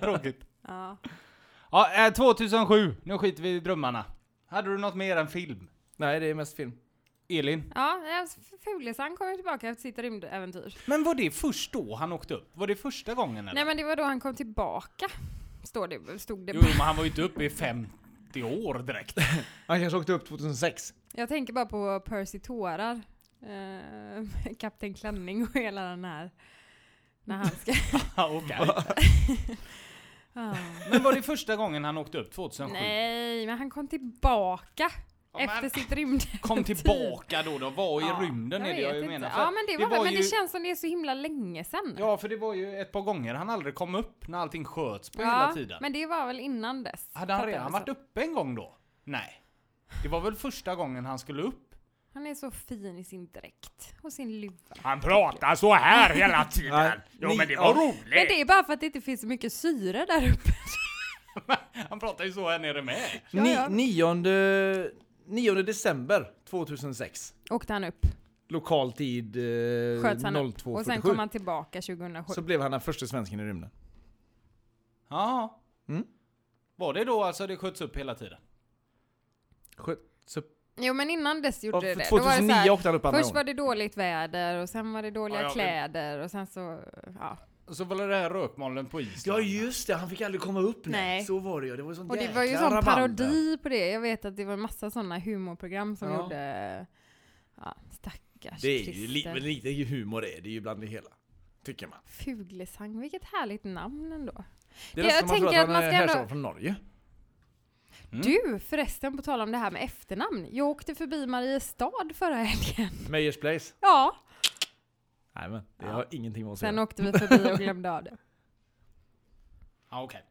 S1: Tråkigt.
S2: Ja.
S1: Ja, eh, 2007. Nu skiter vi i drömmarna. Hade du något mer än film?
S3: Nej, det är mest film.
S1: Elin?
S2: Ja, eh, Fuglesang kom ju tillbaka efter sitt rymdäventyr.
S1: Men var det först då han åkte upp? Var det första gången eller?
S2: Nej men det var då han kom tillbaka. Står det, stod det.
S1: Jo, men han var ju inte uppe i 50 år direkt.
S3: Han kanske åkte upp 2006.
S2: Jag tänker bara på Percy Tårar. Eh, Kapten Klänning och hela den här. När han ska...
S1: Ja, Okej.
S2: Ah.
S1: Men var det första gången han åkte upp 2007?
S2: Nej, men han kom tillbaka
S1: Ja, men
S2: efter sitt rymdäventyr.
S1: Kom tillbaka då då, var i
S2: Ja,
S1: rymden är det jag,
S2: vet
S1: ju
S2: inte.
S1: menar. För
S2: Ja men det, var, väl-
S1: var
S2: men
S1: ju-
S2: det känns som det är så himla länge sedan.
S1: Ja, för det var ju ett par gånger han aldrig kom upp när allting sköts på hela tiden.
S2: men det var väl innan dess.
S1: Hade han
S2: fattar alltså. jag
S1: redan
S2: det
S1: varit
S2: som.
S1: uppe en gång då? Nej. Det var väl första gången han skulle upp?
S2: Han är så fin i sin dräkt och sin luva.
S1: Han pratar så här hela tiden!
S3: Jo, men det var
S2: Men
S1: roligt!
S2: det är bara för att det inte finns så mycket syre där uppe.
S1: Han pratar ju så här nere med.
S2: Ja, ja.
S3: Ni, 9, 9 december 2006.
S2: Åkte han upp,
S3: Lokal tid eh,
S2: sköts han upp och sen
S3: 02.47.
S2: kom han tillbaka 2007.
S3: Så blev han den första svensken i rymden.
S1: Ja.
S3: Mm.
S1: Var det då alltså det sköts upp hela tiden?
S3: Sköts upp.
S2: Jo men innan dess gjorde
S3: Ja,
S2: det
S3: för
S2: det. Då var det så
S3: 2009 åkte han upp andra
S2: först var
S3: gången.
S2: det dåligt väder och sen var det dåliga
S1: Ja, ja, men-
S2: kläder och sen så, ja.
S1: Så var det det här rökmolnen på
S3: Ja
S1: Island?
S3: just det, han fick aldrig komma upp. Nej.
S2: Nej.
S3: Så var det ju. Det var, sån
S2: Och det
S3: jäkla
S2: var ju sån
S3: rabalder.
S2: parodi på det. Jag vet att det var massa såna humorprogram som
S3: Ja.
S2: gjorde, ja stackars
S3: Det är ju li-
S2: Christer.
S3: men lite humor är det ju bland det hela. Tycker man.
S2: Fuglesang, vilket härligt namn ändå.
S3: Det
S2: Jag
S3: nästan tror
S2: tänker att man
S3: är
S2: ska ändå-
S3: härstammar från Norge.
S1: Mm.
S2: Du, förresten på tal om det här med efternamn. Jag åkte förbi Mariestad förra helgen.
S3: Meyers Place.
S2: Ja,
S3: Nej men, det
S2: Ja.
S3: har ingenting med oss att
S2: sen
S3: säga.
S2: åkte vi förbi och glömde av det.
S1: Ja, okej.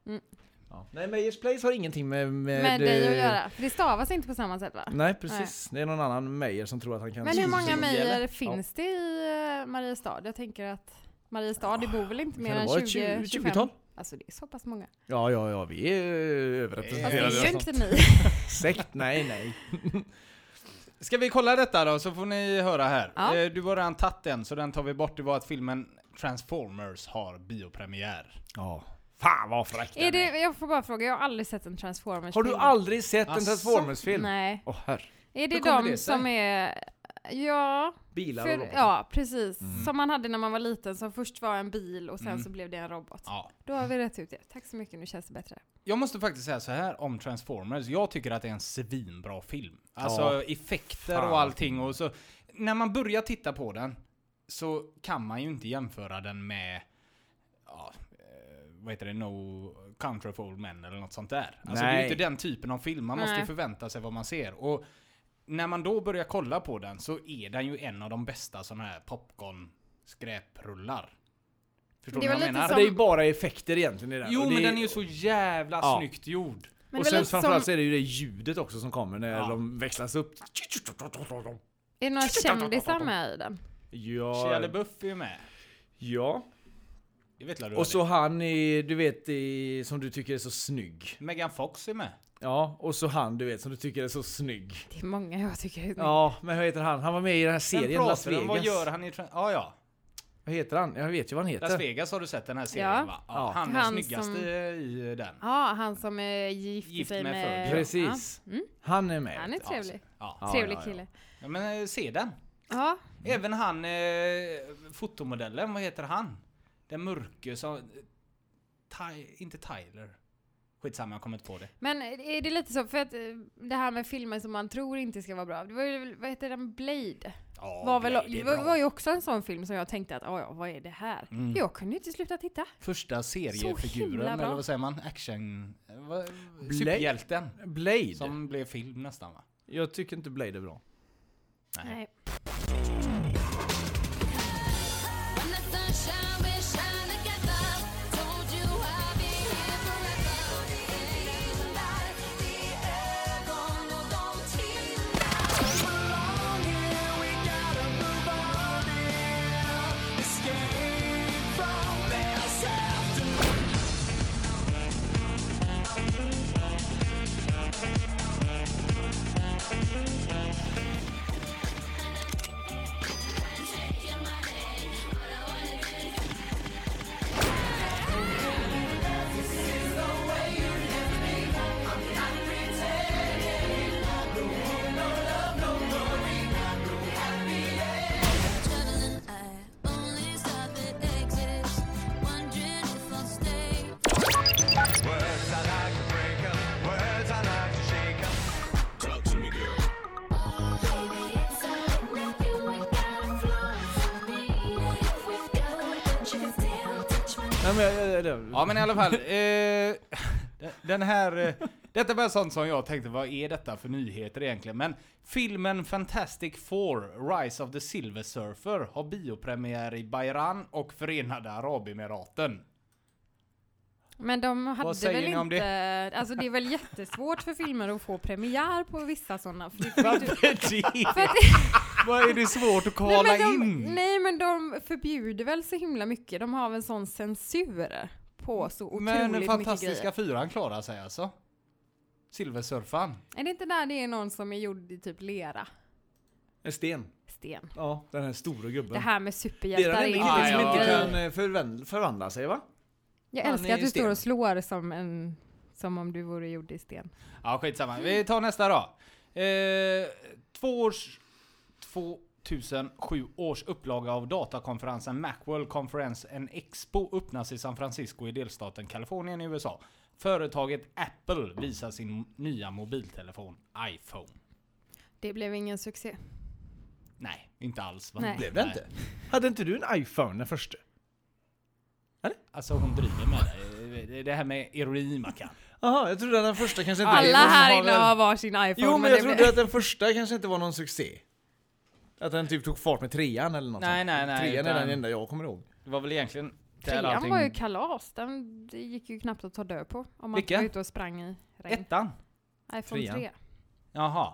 S3: Ja. Nej Meyers Place har ingenting med... Med,
S2: Med dig att
S3: eh,
S2: göra. För det stavas inte på samma sätt va?
S3: Nej precis, det är någon annan Meyer som tror att han kan...
S2: Men hur många
S3: Eller?
S2: Meijer finns det i eh, Mariestad? Jag tänker att Mariestad, det bor väl inte
S3: Kan
S2: mer
S3: det
S2: än
S3: vara ett
S2: 20,
S3: tju-
S2: 25?
S3: 20-tal?
S2: Alltså det är så pass många.
S3: Ja, ja, ja, vi är
S2: Fast
S1: Fast
S2: det
S1: det
S2: är ju
S3: överrepresenterade.
S2: inte ni.
S3: Sekt? Nej, nej.
S1: Ska vi kolla detta då så får ni höra här.
S2: Ja.
S1: Eh, Du har redan tagit den så den tar vi bort. Det var att filmen Transformers har biopremiär.
S3: Ja. Fan vad fräckt
S2: Är
S3: den
S2: det, jag får bara fråga, jag har aldrig sett en Transformers
S3: Har du aldrig sett en
S1: Asså?
S3: Transformers-film?
S2: Nej.
S3: Åh herre.
S2: Är det
S1: Hur kommer
S2: de
S1: det sig?
S2: som är... Ja,
S3: Bilar och
S2: för,
S3: robotar.
S2: ja, precis.
S3: Mm.
S2: Som man hade när man var liten, som först var en bil och sen
S1: Mm.
S2: så blev det en robot.
S1: Ja.
S2: Då har vi rätt ut det. Tack så mycket, nu känns det bättre.
S1: Jag måste faktiskt säga så här om Transformers. Jag tycker att det är en svinbra film. Alltså
S3: Ja.
S1: effekter
S3: Fan.
S1: och allting och så. När man börjar titta på den så kan man ju inte jämföra den med, ja, eh, vad heter det, No Country for Old Men eller något sånt där. Alltså det är ju
S3: Nej.
S1: inte den typen av film. Man måste ju
S2: Nej.
S1: förvänta sig vad man ser. Och när man då börjar kolla på den så är den ju en av de bästa sådana här popcorn skräprullar. Förstår
S2: Det
S1: du
S2: var
S1: vad jag
S2: lite
S1: menar?
S2: som-
S3: Det är ju bara effekter egentligen i den.
S1: Jo
S3: Och
S1: men
S3: det-
S1: den är ju så jävla
S3: Ja.
S1: snyggt gjord.
S2: Men
S3: och
S2: det är
S3: sen
S2: lite
S3: framförallt
S2: som-
S3: så är det ju det ljudet också som kommer när
S1: Ja.
S3: de växlas upp.
S2: Är det några kändisar med i den?
S1: Shia
S3: Ja.
S1: LaBeouf är ju med.
S3: ja.
S1: Det vet väl du
S3: Och så
S1: Erik?
S3: han i, du vet, i, som du tycker är så snygg.
S1: Megan Fox är med.
S3: Ja, och så han du vet som du tycker är så snygg.
S2: Det är många jag tycker är ja.
S3: Ja, men vad heter han? Han var med i den här
S1: Vem
S3: serien
S1: pratar
S3: Las
S1: du om?
S3: Vegas.
S1: Vad gör han i... Tran- Ja, ja.
S3: Vad heter han? Jag vet ju vad han heter.
S1: Las Vegas har du sett den här serien
S2: Ja.
S1: va?
S3: Ja.
S1: Ja. Han är
S2: Han
S1: snyggaste
S2: som-
S1: i den.
S2: ja, han som eh, gifte
S1: Gift
S2: sig
S1: med
S2: med...
S1: Fergie.
S3: Precis.
S2: Ja. Mm.
S3: Han är med.
S2: Han är
S1: Ja,
S2: trevlig.
S1: Ja.
S3: Ja,
S2: trevlig
S3: ja, ja.
S2: kille.
S1: ja. Men eh, se den.
S2: Ja.
S1: Även han eh, fotomodellen, vad heter han? Den mörke som... Ty, inte Tyler. Skitsamma, jag kommer inte på det.
S2: Men är det lite så, för att eh, det här med filmer som man tror inte ska vara bra. Det var ju, vad heter den, Blade?
S1: Ja,
S2: var, väl,
S1: det är
S2: var,
S1: bra.
S2: var ju också en sån film som jag tänkte att, "Ah, ja, vad är det här?
S1: Mm.
S2: Jag kunde ju inte sluta titta.
S1: Första
S2: himla
S1: seriefiguren,
S2: bra.
S1: eller vad säger man? Action... eh, vad-
S3: Blade.
S1: Superhjälten.
S3: Blade.
S1: Som blev film nästan va?
S3: Jag tycker inte Blade är bra.
S1: Nej.
S5: When the sunshine will shine together. Told you I'll be here forever. It ain't like the air gonna go tonight. Traveling, I only stop at exits. Wondering if I'll stay. Baby, it's all nothing we got flows me. If we go, don't you still touch my
S3: Nej, men, jag- jag- jag-
S1: Ja men i alla fall. Eh, den här... Eh, detta var sånt som jag tänkte, vad är detta för nyheter egentligen? Men filmen Fantastic Four, Rise of the Silver Surfer har biopremiär i Bayran och Förenade Arabemiraten.
S2: Men de hade
S1: säger
S2: väl
S1: ni om
S2: inte... Alltså det är väl jättesvårt för filmer att få premiär på vissa sådana. För det finns ju-
S1: Varför det? Vad är det svårt att
S2: Nej,
S1: kvala
S2: men de,
S1: in?
S2: nej men de förbjuder väl så himla mycket. De har väl sån censur på så otroligt
S1: Men den
S2: mycket
S1: fantastiska
S2: grejer.
S1: fyran klarar sig alltså. Silversurfan.
S2: Är det inte där det är någon som är gjord i typ lera?
S3: En sten.
S2: Sten.
S3: Ja, den här stora gubben.
S2: Det här med
S3: det är
S2: superhjältar
S3: den enda
S1: Ah,
S3: som
S1: ja.
S3: inte
S2: grej.
S3: kan eh, förvän- förvandla sig va?
S2: Jag
S3: Han är
S2: älskar att
S3: ju
S2: du står och
S3: sten.
S2: slår som en... Som om du vore gjord i sten.
S1: Ja, skitsamma. Vi tar nästa då. Eh, två års... 2007 års upplaga av datakonferensen Macworld Conference and Expo öppnas i San Francisco i delstaten Kalifornien i USA. Företaget Apple visar sin nya mobiltelefon iPhone.
S2: Det blev ingen succé.
S1: Nej, inte alls. va?
S2: Nej.
S3: Blev det inte? Hade inte du en iPhone den första?
S1: Alltså hon driver med det. Det här med ironi Mackan.
S3: Jaha, jag trodde att den första kanske inte
S2: Alla här
S3: var
S2: inne
S3: väl-
S2: har varsin iPhone.
S3: Jo, men
S2: det
S3: jag trodde
S2: blev-
S3: att den första kanske inte var någon succé. Att den typ tog fart med trean eller något
S1: Nej,
S3: sånt.
S1: nej, nej,
S3: Trean är
S1: utan-
S3: den enda jag kommer ihåg.
S1: Det var väl egentligen... där
S2: Trean
S1: allting-
S2: var ju kalas, den det gick ju knappt att ta död på. Om man
S1: Vilka?
S2: inte var ute och sprang i regn.
S1: Ettan?
S2: iPhone
S3: Trean.
S2: 3.
S1: Jaha.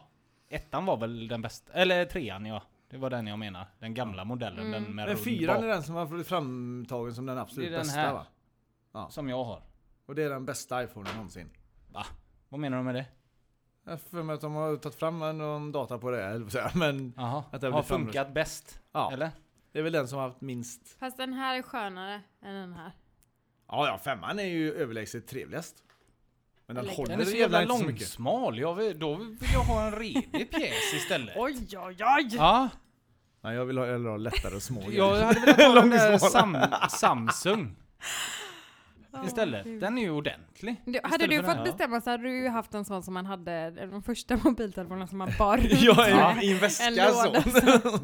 S1: Ettan var väl den bästa, eller trean ja. Det var den jag menar. Den gamla modellen,
S2: Mm.
S1: den med
S3: Men
S1: rund
S3: fyran
S1: bak,
S3: är den som har blivit framtagen som den absolut
S1: Det är den
S3: bästa
S1: här.
S3: va?
S1: Som jag har.
S3: Och det är den bästa iPhonen någonsin.
S1: Va? Vad menar du med det?
S3: Jag har för mig att de har tagit fram någon data på det, eller vad säger jag, men
S1: Jaha.
S3: Att det
S1: har
S3: blir
S1: funkat bäst?
S3: Ja.
S1: Eller?
S3: det är väl den som har haft minst...
S2: Fast den här är skönare än den här.
S3: Ja, ja, femman är ju överlägset trevligast. Men den
S2: Eller-
S3: håller
S1: Den är så
S3: jävla
S1: jävla
S3: inte så mycket.
S1: långsmal. Jag vill, då vill jag ha en redig pjäs istället.
S2: Oj, oj, oj!
S1: Ja,
S3: Nej, jag vill ha, eller ha lättare och små grejer.
S1: jag hade velat ha den där sam, Samsung. Istället. Den är ju ordentlig.
S2: Du, hade
S1: Istället
S2: du
S1: för den
S2: fått
S1: här.
S2: bestämma så hade du ju haft en sån som man hade, de första mobiltelefonerna som man bar runt.
S3: Jag
S1: Ja.
S3: är i en
S2: En
S3: väska så.
S2: låda.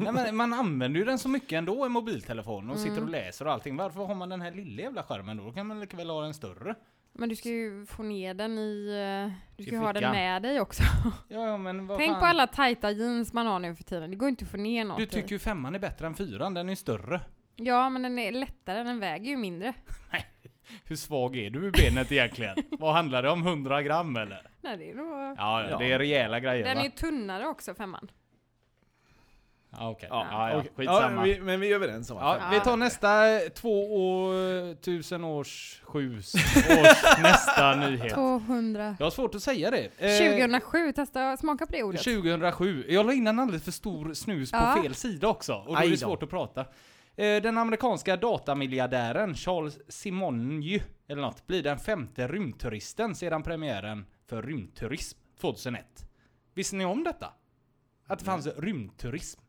S1: Nej, men man använder ju den så mycket ändå, en mobiltelefon, och
S2: Mm.
S1: sitter och läser och allting. Varför har man den här lilla jävla skärmen då? Då kan man lika väl ha en större.
S2: Men du ska ju få ner den i... eh, Du
S1: I
S2: ska ju ha den
S1: fickan.
S2: med dig också.
S1: Ja, ja, men vad
S2: Tänk
S1: fan?
S2: på alla tajta jeans man har nu för tiden. Det går inte att få ner något
S1: Du
S2: i.
S1: tycker ju femman är bättre än fyran, den är ju större.
S2: Ja, men den är lättare, den väger ju mindre.
S1: Hur svag är du i benet egentligen? vad handlar det om? 100 gram eller?
S2: Nej, det är nog...
S1: Ja,
S3: Ja.
S1: det är rejäla grejer
S2: Den
S1: va?
S2: är ju tunnare också, femman.
S1: Ja, okej.
S3: Ja,
S1: Ja, ja,
S3: okej.
S1: skitsamma.
S3: Ja, vi, men vi är överens om att
S1: Ja,
S3: femman.
S1: vi tar nästa eh, två år, tusen års, sju års nästa nyhet.
S2: 200...
S1: Jag har svårt att säga det. Eh,
S2: 2007, testa, smaka på det ordet.
S1: 2007. Jag la in en alldeles för stor snus på
S2: Ja.
S1: fel sida också, och då är
S3: Aj
S1: det
S3: då.
S1: svårt att prata. Eh, Den amerikanska datamiljardären Charles Simonyi, eller något, blir den femte rymdturisten sedan premiären för rymdturism 2001. Visste ni om detta? Att det fanns rymdturism?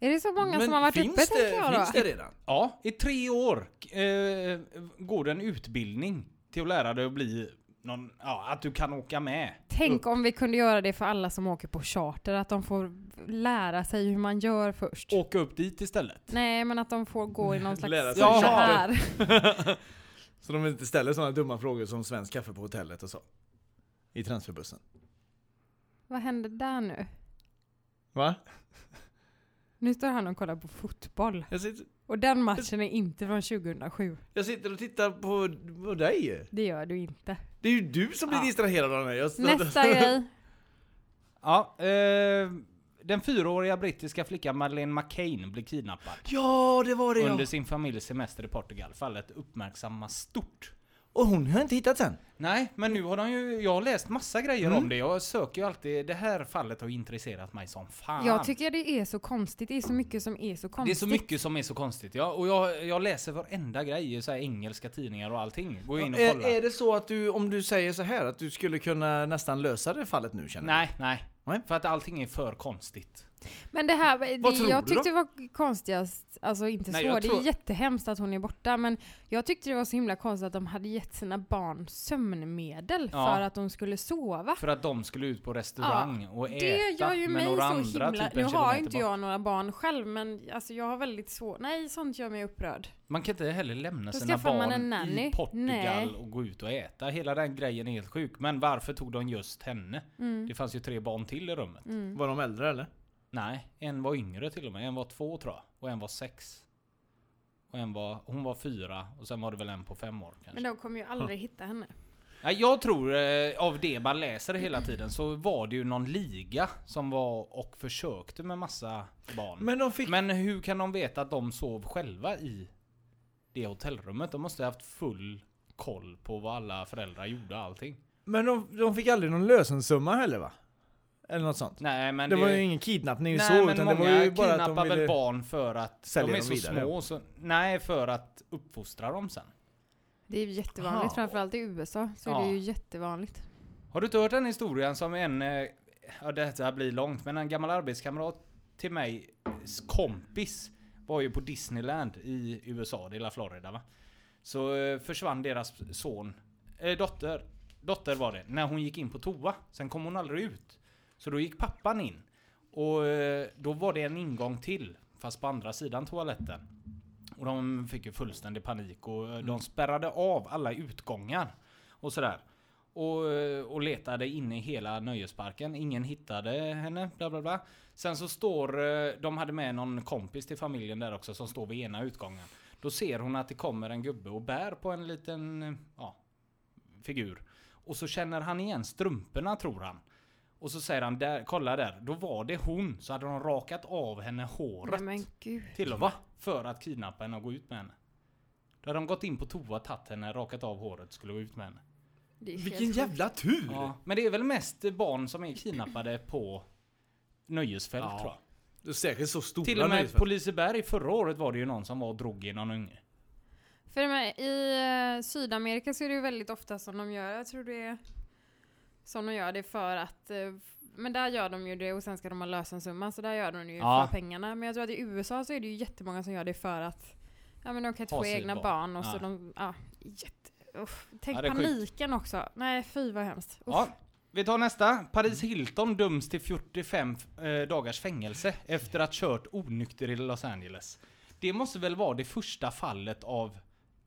S2: Är det så många
S3: Men
S2: som har varit
S3: finns
S2: uppe
S3: det,
S2: tänker jag då?
S3: Finns det redan?
S1: Ja, i tre år eh, går det en utbildning till att lära dig att bli någon, ja, att du kan åka med.
S2: Tänk om vi kunde göra det för alla som åker på charter, att de får lära sig hur man gör först.
S1: Åka upp dit istället.
S2: Nej, men att de får gå i någon
S3: Lära
S2: slags...
S3: sig
S2: så
S1: charter.
S2: här.
S3: Så de inte ställer sådana dumma frågor som svensk kaffe på hotellet och så. I transferbussen.
S2: Vad hände där nu?
S3: Va?
S2: Nu står han och kollar på fotboll.
S3: Jag sitter,
S2: Och den matchen är inte från 2007.
S3: jag sitter och tittar på, på dig.
S2: Det gör du inte.
S3: Det är ju du som blir
S1: Ja.
S3: distraherad av mig. Jag
S2: Nästa grej.
S1: Ja, eh, den fyraåriga brittiska flickan Madeleine McCain blir kidnappad.
S3: Ja, det var det
S1: Under
S3: ja.
S1: sin familjs semester i Portugal. Fallet uppmärksammas stort.
S3: Och hon har inte hittat sen.
S1: Nej, men nu har de ju... Jag har läst massa grejer om det. Jag söker ju alltid... Det här fallet har ju intresserat mig som fan.
S2: Jag tycker det är så konstigt. Det är så mycket som är så
S1: Ah. det är
S2: konstigt.
S1: så mycket som är så konstigt. Ja, och jag, jag läser varenda grej i så här engelska tidningar och allting. Går in och
S3: Är,
S1: kollar.
S3: är det så att du, om du säger så här, att du skulle kunna nästan lösa det fallet nu känner
S1: Nej, nej.
S3: Nej.
S1: För att allting är för konstigt.
S2: Men det här, det
S3: Vad tror
S2: jag
S3: du
S2: tyckte det var konstigast, alltså inte
S1: Nej,
S2: så,
S1: jag
S2: det
S1: tror-
S2: är jättehemskt att hon är borta, men jag tyckte det var så himla konstigt att de hade gett sina barn sömnmedel
S1: Ja.
S2: för att de skulle sova.
S1: För att de skulle ut på restaurang och äta
S2: Det gör ju
S1: med
S2: mig
S1: några
S2: så
S1: andra
S2: himla...
S1: typ en
S2: nu har
S1: kilometer
S2: inte
S1: bort.
S2: jag några barn själv, men alltså jag har väldigt svårt... Nej, sånt gör mig upprörd.
S1: Man kan inte heller lämna
S2: Då
S1: sina
S2: skaffar
S1: barn
S2: man en nanny.
S1: i Portugal
S2: Nej.
S1: och gå ut och äta. Hela den grejen är helt sjuk. Men varför tog de just henne?
S2: Mm.
S1: Det fanns ju tre barn till i rummet.
S3: du? Var de äldre eller?
S1: Nej, en var yngre till och med. En var två tror jag. Och en var sex. Och en var, hon var fyra och sen var det väl en på fem år kanske.
S2: Men de kommer ju aldrig hitta henne.
S1: Nej, jag tror eh, av det man läser hela tiden så var det ju någon liga som var och försökte med massa barn.
S3: Men de fick...
S1: Men hur kan de veta att de sov själva i det hotellrummet? De måste ha haft full koll på vad alla föräldrar gjorde och allting.
S3: Men de, de fick aldrig någon lösensumma heller va? Eller något sånt?
S1: Nej men
S3: det,
S1: det,
S3: var ju ingen kidnappning
S1: Nej,
S3: så,
S1: men
S3: utan det
S1: många
S3: var ju bara att de
S1: kidnappar
S3: ville...
S1: väl barn för att
S3: sälja
S1: de är
S3: dem
S1: så
S3: vidare.
S1: små så, Nej, för att uppfostra dem sen.
S2: Det är ju jättevanligt,
S3: Aha.
S2: framförallt i USA så
S1: Ja.
S2: är det ju jättevanligt.
S1: Har du inte hört den historien som en, eh, ja det här blir långt, men en gammal arbetskamrat till mig, s- kompis, var ju på Disneyland i USA, det är hela Florida va? Så eh, försvann deras son, eh, dotter, dotter var det, när hon gick in på toa. Sen kom hon aldrig ut. Så då gick pappan in. Och eh, då var det en ingång till, fast på andra sidan toaletten. Och de fick ju fullständig panik och eh, de spärrade av alla utgångar. Och sådär. Och, eh, och letade inne i hela nöjesparken. Ingen hittade henne. Bla bla bla. Sen så står, eh, de hade med någon kompis till familjen där också som står vid ena utgången. Då ser hon att det kommer en gubbe och bär på en liten, eh, ja, figur. Och så känner han igen strumporna tror han. Och så säger han, där, kolla där, då var det hon. Så hade de rakat av henne håret.
S2: Nej, men gud.
S1: Till och med. För att kidnappa henne och gå ut med henne. Då hade de gått in på toa, tagit henne, rakat av håret, skulle gå ut med henne.
S2: Det är
S3: Vilken
S2: helt sjukt.
S3: jävla tur!
S1: Ja, men det är väl mest barn som är kidnappade på nöjesfält
S3: Ja,
S1: tror jag.
S3: Det är säkert så stora
S1: Till och med
S3: nöjesfält.
S1: på Liseberg förra året var det ju någon som var och drog i någon unge.
S2: För med, i eh, Sydamerika så är det ju väldigt ofta som de gör, jag tror det är som de gör det för att eh, f- men där gör de ju det och sen ska de ha lösensumman så där gör de det ju
S1: Ja.
S2: för pengarna. Men jag tror att i USA så är det ju jättemånga som gör det för att ja men de kan inte
S1: Ha
S2: få
S1: sitt
S2: egna barn,
S1: barn.
S2: och så
S1: Ja.
S2: de, ja, jätte, uff. Tänk
S1: Ja, det är sjukt.
S2: paniken också. Nej fy vad hemskt. Uff.
S1: Ja, vi tar nästa. Paris Hilton döms till 45 eh, dagars fängelse efter att kört onykter i Los Angeles. Det måste väl vara det första fallet av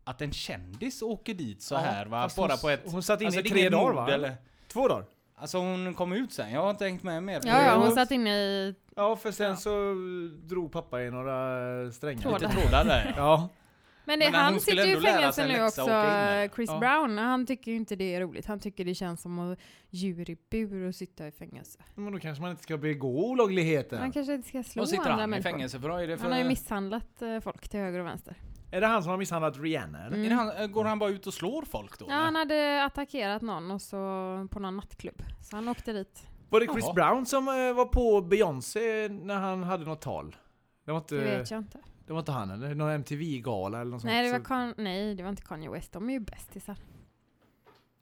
S1: att en kändis åker dit så
S3: Ja,
S1: här va?
S3: fast
S1: Bara
S3: hon-
S1: på ett... Alltså,
S3: hon satt inne i
S1: det är
S3: Alltså, tre
S1: ingen
S3: dagar,
S1: mord
S3: va?
S1: Eller,
S3: Två dagar?
S1: alltså hon kom ut sen, jag har inte hängt med mer.
S2: Ja, ja hon satt inne i...
S3: Ja, för sen så drog pappa i några strängar.
S2: Trådar.
S1: Lite trådar där ja.
S3: Ja.
S2: Men, det,
S1: Men
S2: han
S1: hon skulle
S2: sitter ju i
S1: ändå lära sig
S2: fängelse
S1: en läxa
S2: nu också, eh,
S1: och åka in där.
S2: Chris
S3: Ja.
S2: Brown. Han tycker ju inte det är roligt. Han tycker det känns som att djur i bur och sitta i fängelse.
S3: Men då kanske man inte ska begå olagligheter.
S2: Han kanske inte ska slå
S1: Vad sitter
S2: andra
S1: han i
S2: människor.
S1: fängelse för då? Är det för...
S2: Han har ju misshandlat eh, folk till höger och vänster.
S3: Är det han som har misshandlat Rihanna eller?
S1: Är det han, eh, går han bara ut och slår folk då?
S2: mm. Ja, han hade attackerat någon och så på någon nattklubb. Så han åkte dit.
S3: Var det Chris
S1: Jaha.
S3: Brown som eh, var på Beyoncé när han hade något tal? Det var
S2: Det
S3: inte,
S2: vet jag inte.
S3: det var inte han eller? Någon MTV-gala eller något
S2: Nej det, var
S3: sånt?
S2: Kan- Nej, det var inte Kanye West. De är ju bästisar.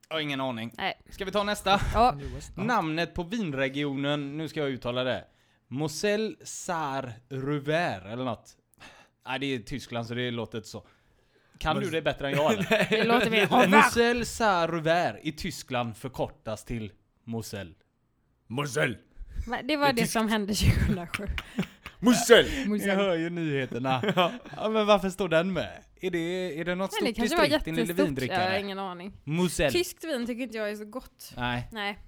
S1: Jag har ingen aning.
S2: Nej.
S1: Ska vi ta nästa?
S2: Ja,
S3: Ja.
S1: Namnet på vinregionen, nu ska jag uttala det. Moselle Sar Ruver eller något. Nej, det är Tyskland så det låter inte så. Kan du det bättre än jag eller?
S2: det låter mer... Åh, va?
S1: Moselle Sar Ruver i Tyskland förkortas till Moselle.
S3: Moselle!
S2: Va, det var det som hände 2007.
S3: Moselle!
S1: Ni
S2: Moselle.
S1: hör ju nyheterna. ja, men varför står den med? Är det, är det något
S2: Men det
S1: stort
S2: kanske var
S1: distrikt, din lille
S2: jättestort. Jag har
S1: vindrickare?
S2: ingen aning.
S1: Moselle.
S2: Tyskt vin tycker inte jag är så gott.
S1: Nej,
S2: Nej.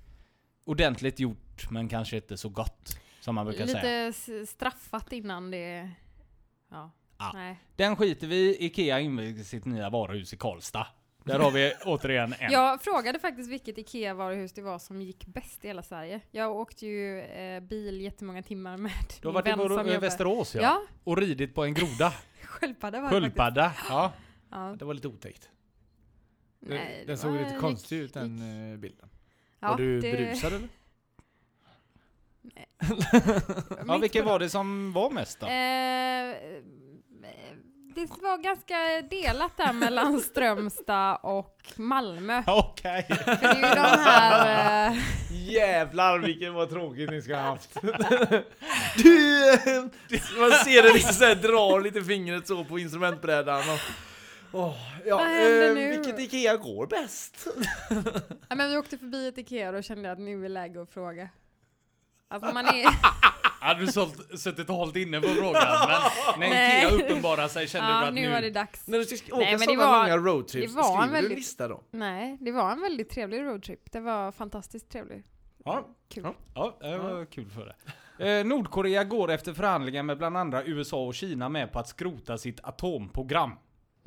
S1: ordentligt gjort men kanske inte så gott Som man brukar säga.
S2: Lite s- straffat innan det... Ja.
S1: Ja.
S2: Nej.
S1: Den skiter vi i. Ikea inviger sitt nya varuhus i Karlstad. Där har vi återigen en.
S2: Jag frågade faktiskt vilket IKEA-varuhus det var som gick bäst i hela Sverige. Jag åkte ju eh, bil jättemånga timmar med
S1: du har
S2: min
S1: varit i eh,
S2: vän som
S1: Vår-
S2: jobbar-
S1: Västerås ja.
S2: Ja,
S1: Och ridit på en groda.
S2: sköldpadda var det faktiskt.
S1: Sköldpadda. Ja.
S2: Ja.
S3: Det var lite otäckt.
S2: Nej,
S3: den
S2: det
S3: såg
S2: var-
S3: lite konstig ut den
S2: gick-
S3: eh, bilden.
S2: Ja,
S3: var du
S2: det-
S3: berusad eller?
S1: ja
S2: mitt
S1: vilken
S2: på
S1: var det som var mest då?
S2: Eh, eh, det var ganska delat där mellan Strömstad och Malmö.
S1: Okej.
S2: För det är ju de här... Eh,
S3: Jävlar vilken vad tråkigt ni ska ha haft. du, eh, man ser det liksom såhär drar lite fingret så på instrumentbrädan. Och, åh, ja,
S2: Vad händer
S3: eh,
S2: nu?
S3: vilket Ikea går bäst?
S2: ja, men vi åkte förbi ett Ikea och då kände jag att nu är läge att fråga. Alltså man är...
S1: Hade du sålt, suttit och hållit inne på frågan men när
S2: Nej.
S1: Ikea uppenbarar sig kände du
S2: ja,
S1: att
S2: nu
S1: nu...
S2: var det dags.
S3: När du ska
S2: Nej,
S3: åka
S2: men det
S3: sådana
S2: var-
S3: långa roadtrips,
S2: det var en
S3: skriver du en
S2: väldigt-
S3: lista då?
S2: Nej, det var en väldigt trevlig roadtrip. Det var fantastiskt trevligt.
S1: Ja,
S2: Kul.
S3: Ja.
S1: ja, det var kul för det. Eh, Nordkorea går efter förhandlingar med bland andra USA och Kina med på att skrota sitt atomprogram.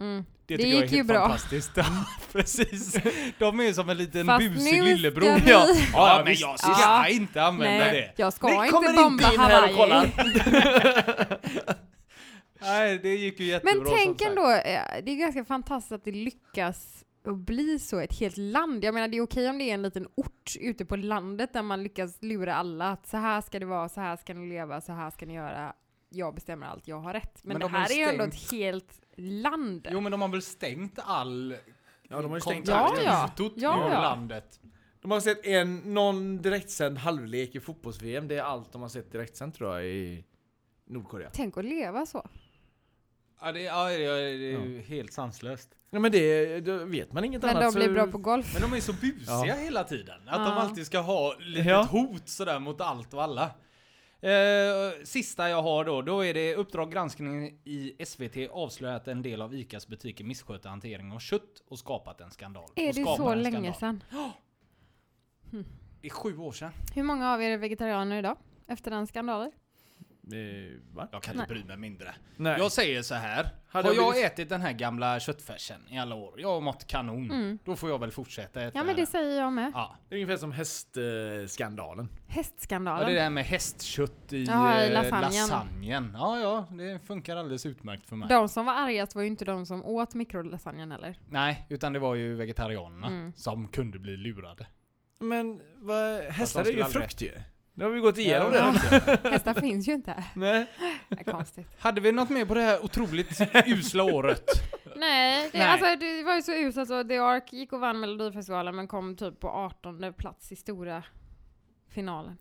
S2: Mm.
S1: Det,
S2: Det
S1: tycker jag är
S2: gick ju
S1: helt
S2: bra.
S1: fantastiskt. Ja, Precis. De är som en liten
S2: Fast
S1: busig
S2: nu
S1: lillebror.
S2: ska vi-
S1: Ja, ja, men
S3: visst,
S1: jag
S3: visst.
S1: ska
S2: Ja.
S1: inte använda det.
S2: jag ska
S3: Ni kommer
S2: inte
S3: inte
S2: bomba
S3: in här och
S2: Hawaii.
S1: Nej, det gick ju jättebra
S2: Men
S1: som
S2: tänk
S1: sagt.
S2: ändå, eh, det är ganska fantastiskt att det lyckas att bli så ett helt land. Jag menar det är okej om det är en liten ort ute på landet där man lyckas lura alla att så här ska det vara, så här ska ni leva, så här ska ni göra. Jag bestämmer allt, jag har rätt. Men,
S1: Men de
S2: det
S1: har
S2: här
S1: ju
S2: är ju ändå ett helt land.
S1: Jo men de har väl stängt all
S3: Ja, de har ju stängt
S1: kontakt
S2: Ja,
S1: med
S2: ja.
S1: utåt
S2: Ja,
S1: ur
S2: ja.
S1: landet.
S3: De har sett en, någon direktsänd halvlek i fotbolls-VM. Det är allt de har sett direktsänd tror jag i Nordkorea.
S2: Tänk att leva så.
S1: Ja, det, ja, det, det är ju helt sanslöst.
S3: Ja, men det, då vet man inget
S2: Men
S3: annat.
S2: de blir
S3: så-
S2: bra på golf.
S1: Men de är så busiga
S3: Ja.
S1: hela tiden. Att de
S2: Ja.
S1: alltid ska ha litet
S3: Ja.
S1: hot sådär mot allt och alla. Eh, sista jag har då, då är det Uppdrag granskning i SVT avslöjar att en del av ICAs butiker missköter hanteringen av kött och skapat en skandal.
S2: Är
S1: och
S2: det
S1: skapar
S2: så
S1: en
S2: länge
S1: skandal.
S2: sedan?
S1: Det är sju år sedan.
S2: Hur många av er är vegetarianer idag? Efter den skandalen?
S3: Eh, va?
S1: Jag kan inte bry mig mindre.
S3: Nej.
S1: Jag säger så här.
S3: Hade
S1: har
S3: jag
S1: jag
S3: blivit-
S1: ätit den här gamla köttfärsen i alla år, jag har mått kanon. Då får jag väl fortsätta äta
S2: Mm. Ja men
S1: den.
S2: det säger jag med.
S1: Ja.
S3: Det är ungefär som hästskandalen.
S1: Ja, det är
S2: Hästskandalen.
S1: det här med hästkött i
S2: Ja, i
S1: eh, lasagnen.
S2: lasagnen.
S1: Ja, ja, det funkar alldeles utmärkt för mig.
S2: De som var argast var ju inte de som åt mikrolasagnen eller?
S1: Nej, utan det var ju vegetarianerna
S2: Mm.
S1: som kunde bli lurade.
S3: Men vad, hästar är
S1: skulle
S3: ju
S1: aldrig-
S3: frukt ju. Nu har vi gått igenom
S1: Ja.
S3: det.
S2: Hästar finns ju inte.
S3: Nej.
S2: Det är konstigt.
S1: Hade vi något mer på det här otroligt usla året?
S2: Nej, det,
S1: Nej.
S2: Alltså, det var ju så uselt så The Ark gick och vann Melodifestivalen men kom typ på 18 plats i stora finalen.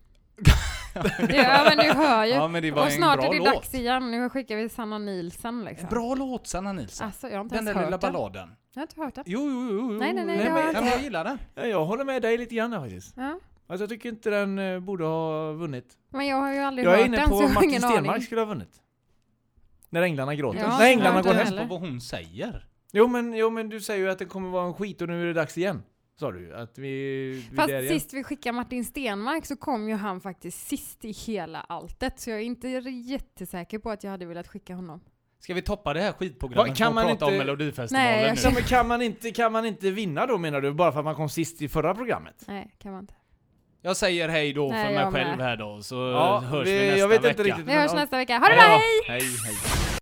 S2: Det- ja men du hör ju.
S1: Ja, men det var
S2: och
S1: en
S2: snart
S1: bra
S2: är det
S1: låt.
S2: dags igen. Nu skickar vi Sanna Nielsen liksom.
S1: En bra låt, Sanna Nilsson.
S2: Alltså jag har inte
S1: Den
S2: ens
S1: där lilla
S2: hört den. Jag
S1: balladen.
S2: har inte hört den.
S1: Jo, jo, jo. jo.
S2: Nej, nej, nej,
S1: men,
S2: det har jag
S1: men
S2: inte.
S1: jag gillar den.
S3: Ja, Jag håller med dig lite grann här, faktiskt.
S2: Ja.
S3: Alltså, jag tycker inte den eh, borde ha vunnit.
S2: Men jag har ju aldrig
S3: Jag är
S2: hört
S3: inne
S2: den så
S3: på
S2: jag har
S3: Martin
S2: ingen
S3: Stenmarck
S2: aning.
S3: skulle ha vunnit. När änglarna gråter.
S2: Ja,
S3: När
S2: jag
S3: änglarna
S2: har
S3: går
S2: inte
S3: hem.
S1: Tänk på
S2: heller.
S1: vad hon säger.
S3: Jo men, jo men du säger ju att det kommer vara en skit och nu är det dags igen. Sa du ju, att vi, vi är
S2: Fast
S3: där igen.
S2: sist vi skickade Martin Stenmark så kom ju han faktiskt sist i hela alltet. Så jag är inte jättesäker på att jag hade velat skicka honom.
S1: Ska vi toppa det här skitprogrammet
S3: Va, kan
S1: och
S3: man
S1: prata
S3: inte-
S1: om Melodifestivalen
S2: Nej, alltså- jag
S1: nu?
S3: Ja, men kan, man inte, kan man inte vinna då menar du? Bara för att man kom sist i förra programmet?
S2: Nej, kan man inte.
S1: Jag säger hej då
S2: Nej,
S1: för mig
S2: jag med.
S1: själv här då, så
S3: Ja,
S1: hörs
S3: vi-
S1: vi, nästa
S3: jag vet
S1: vecka.
S3: inte riktigt.
S2: Vi hörs nästa vecka. Ha det
S3: Ja,
S2: bra, hej!
S3: Hej, hej!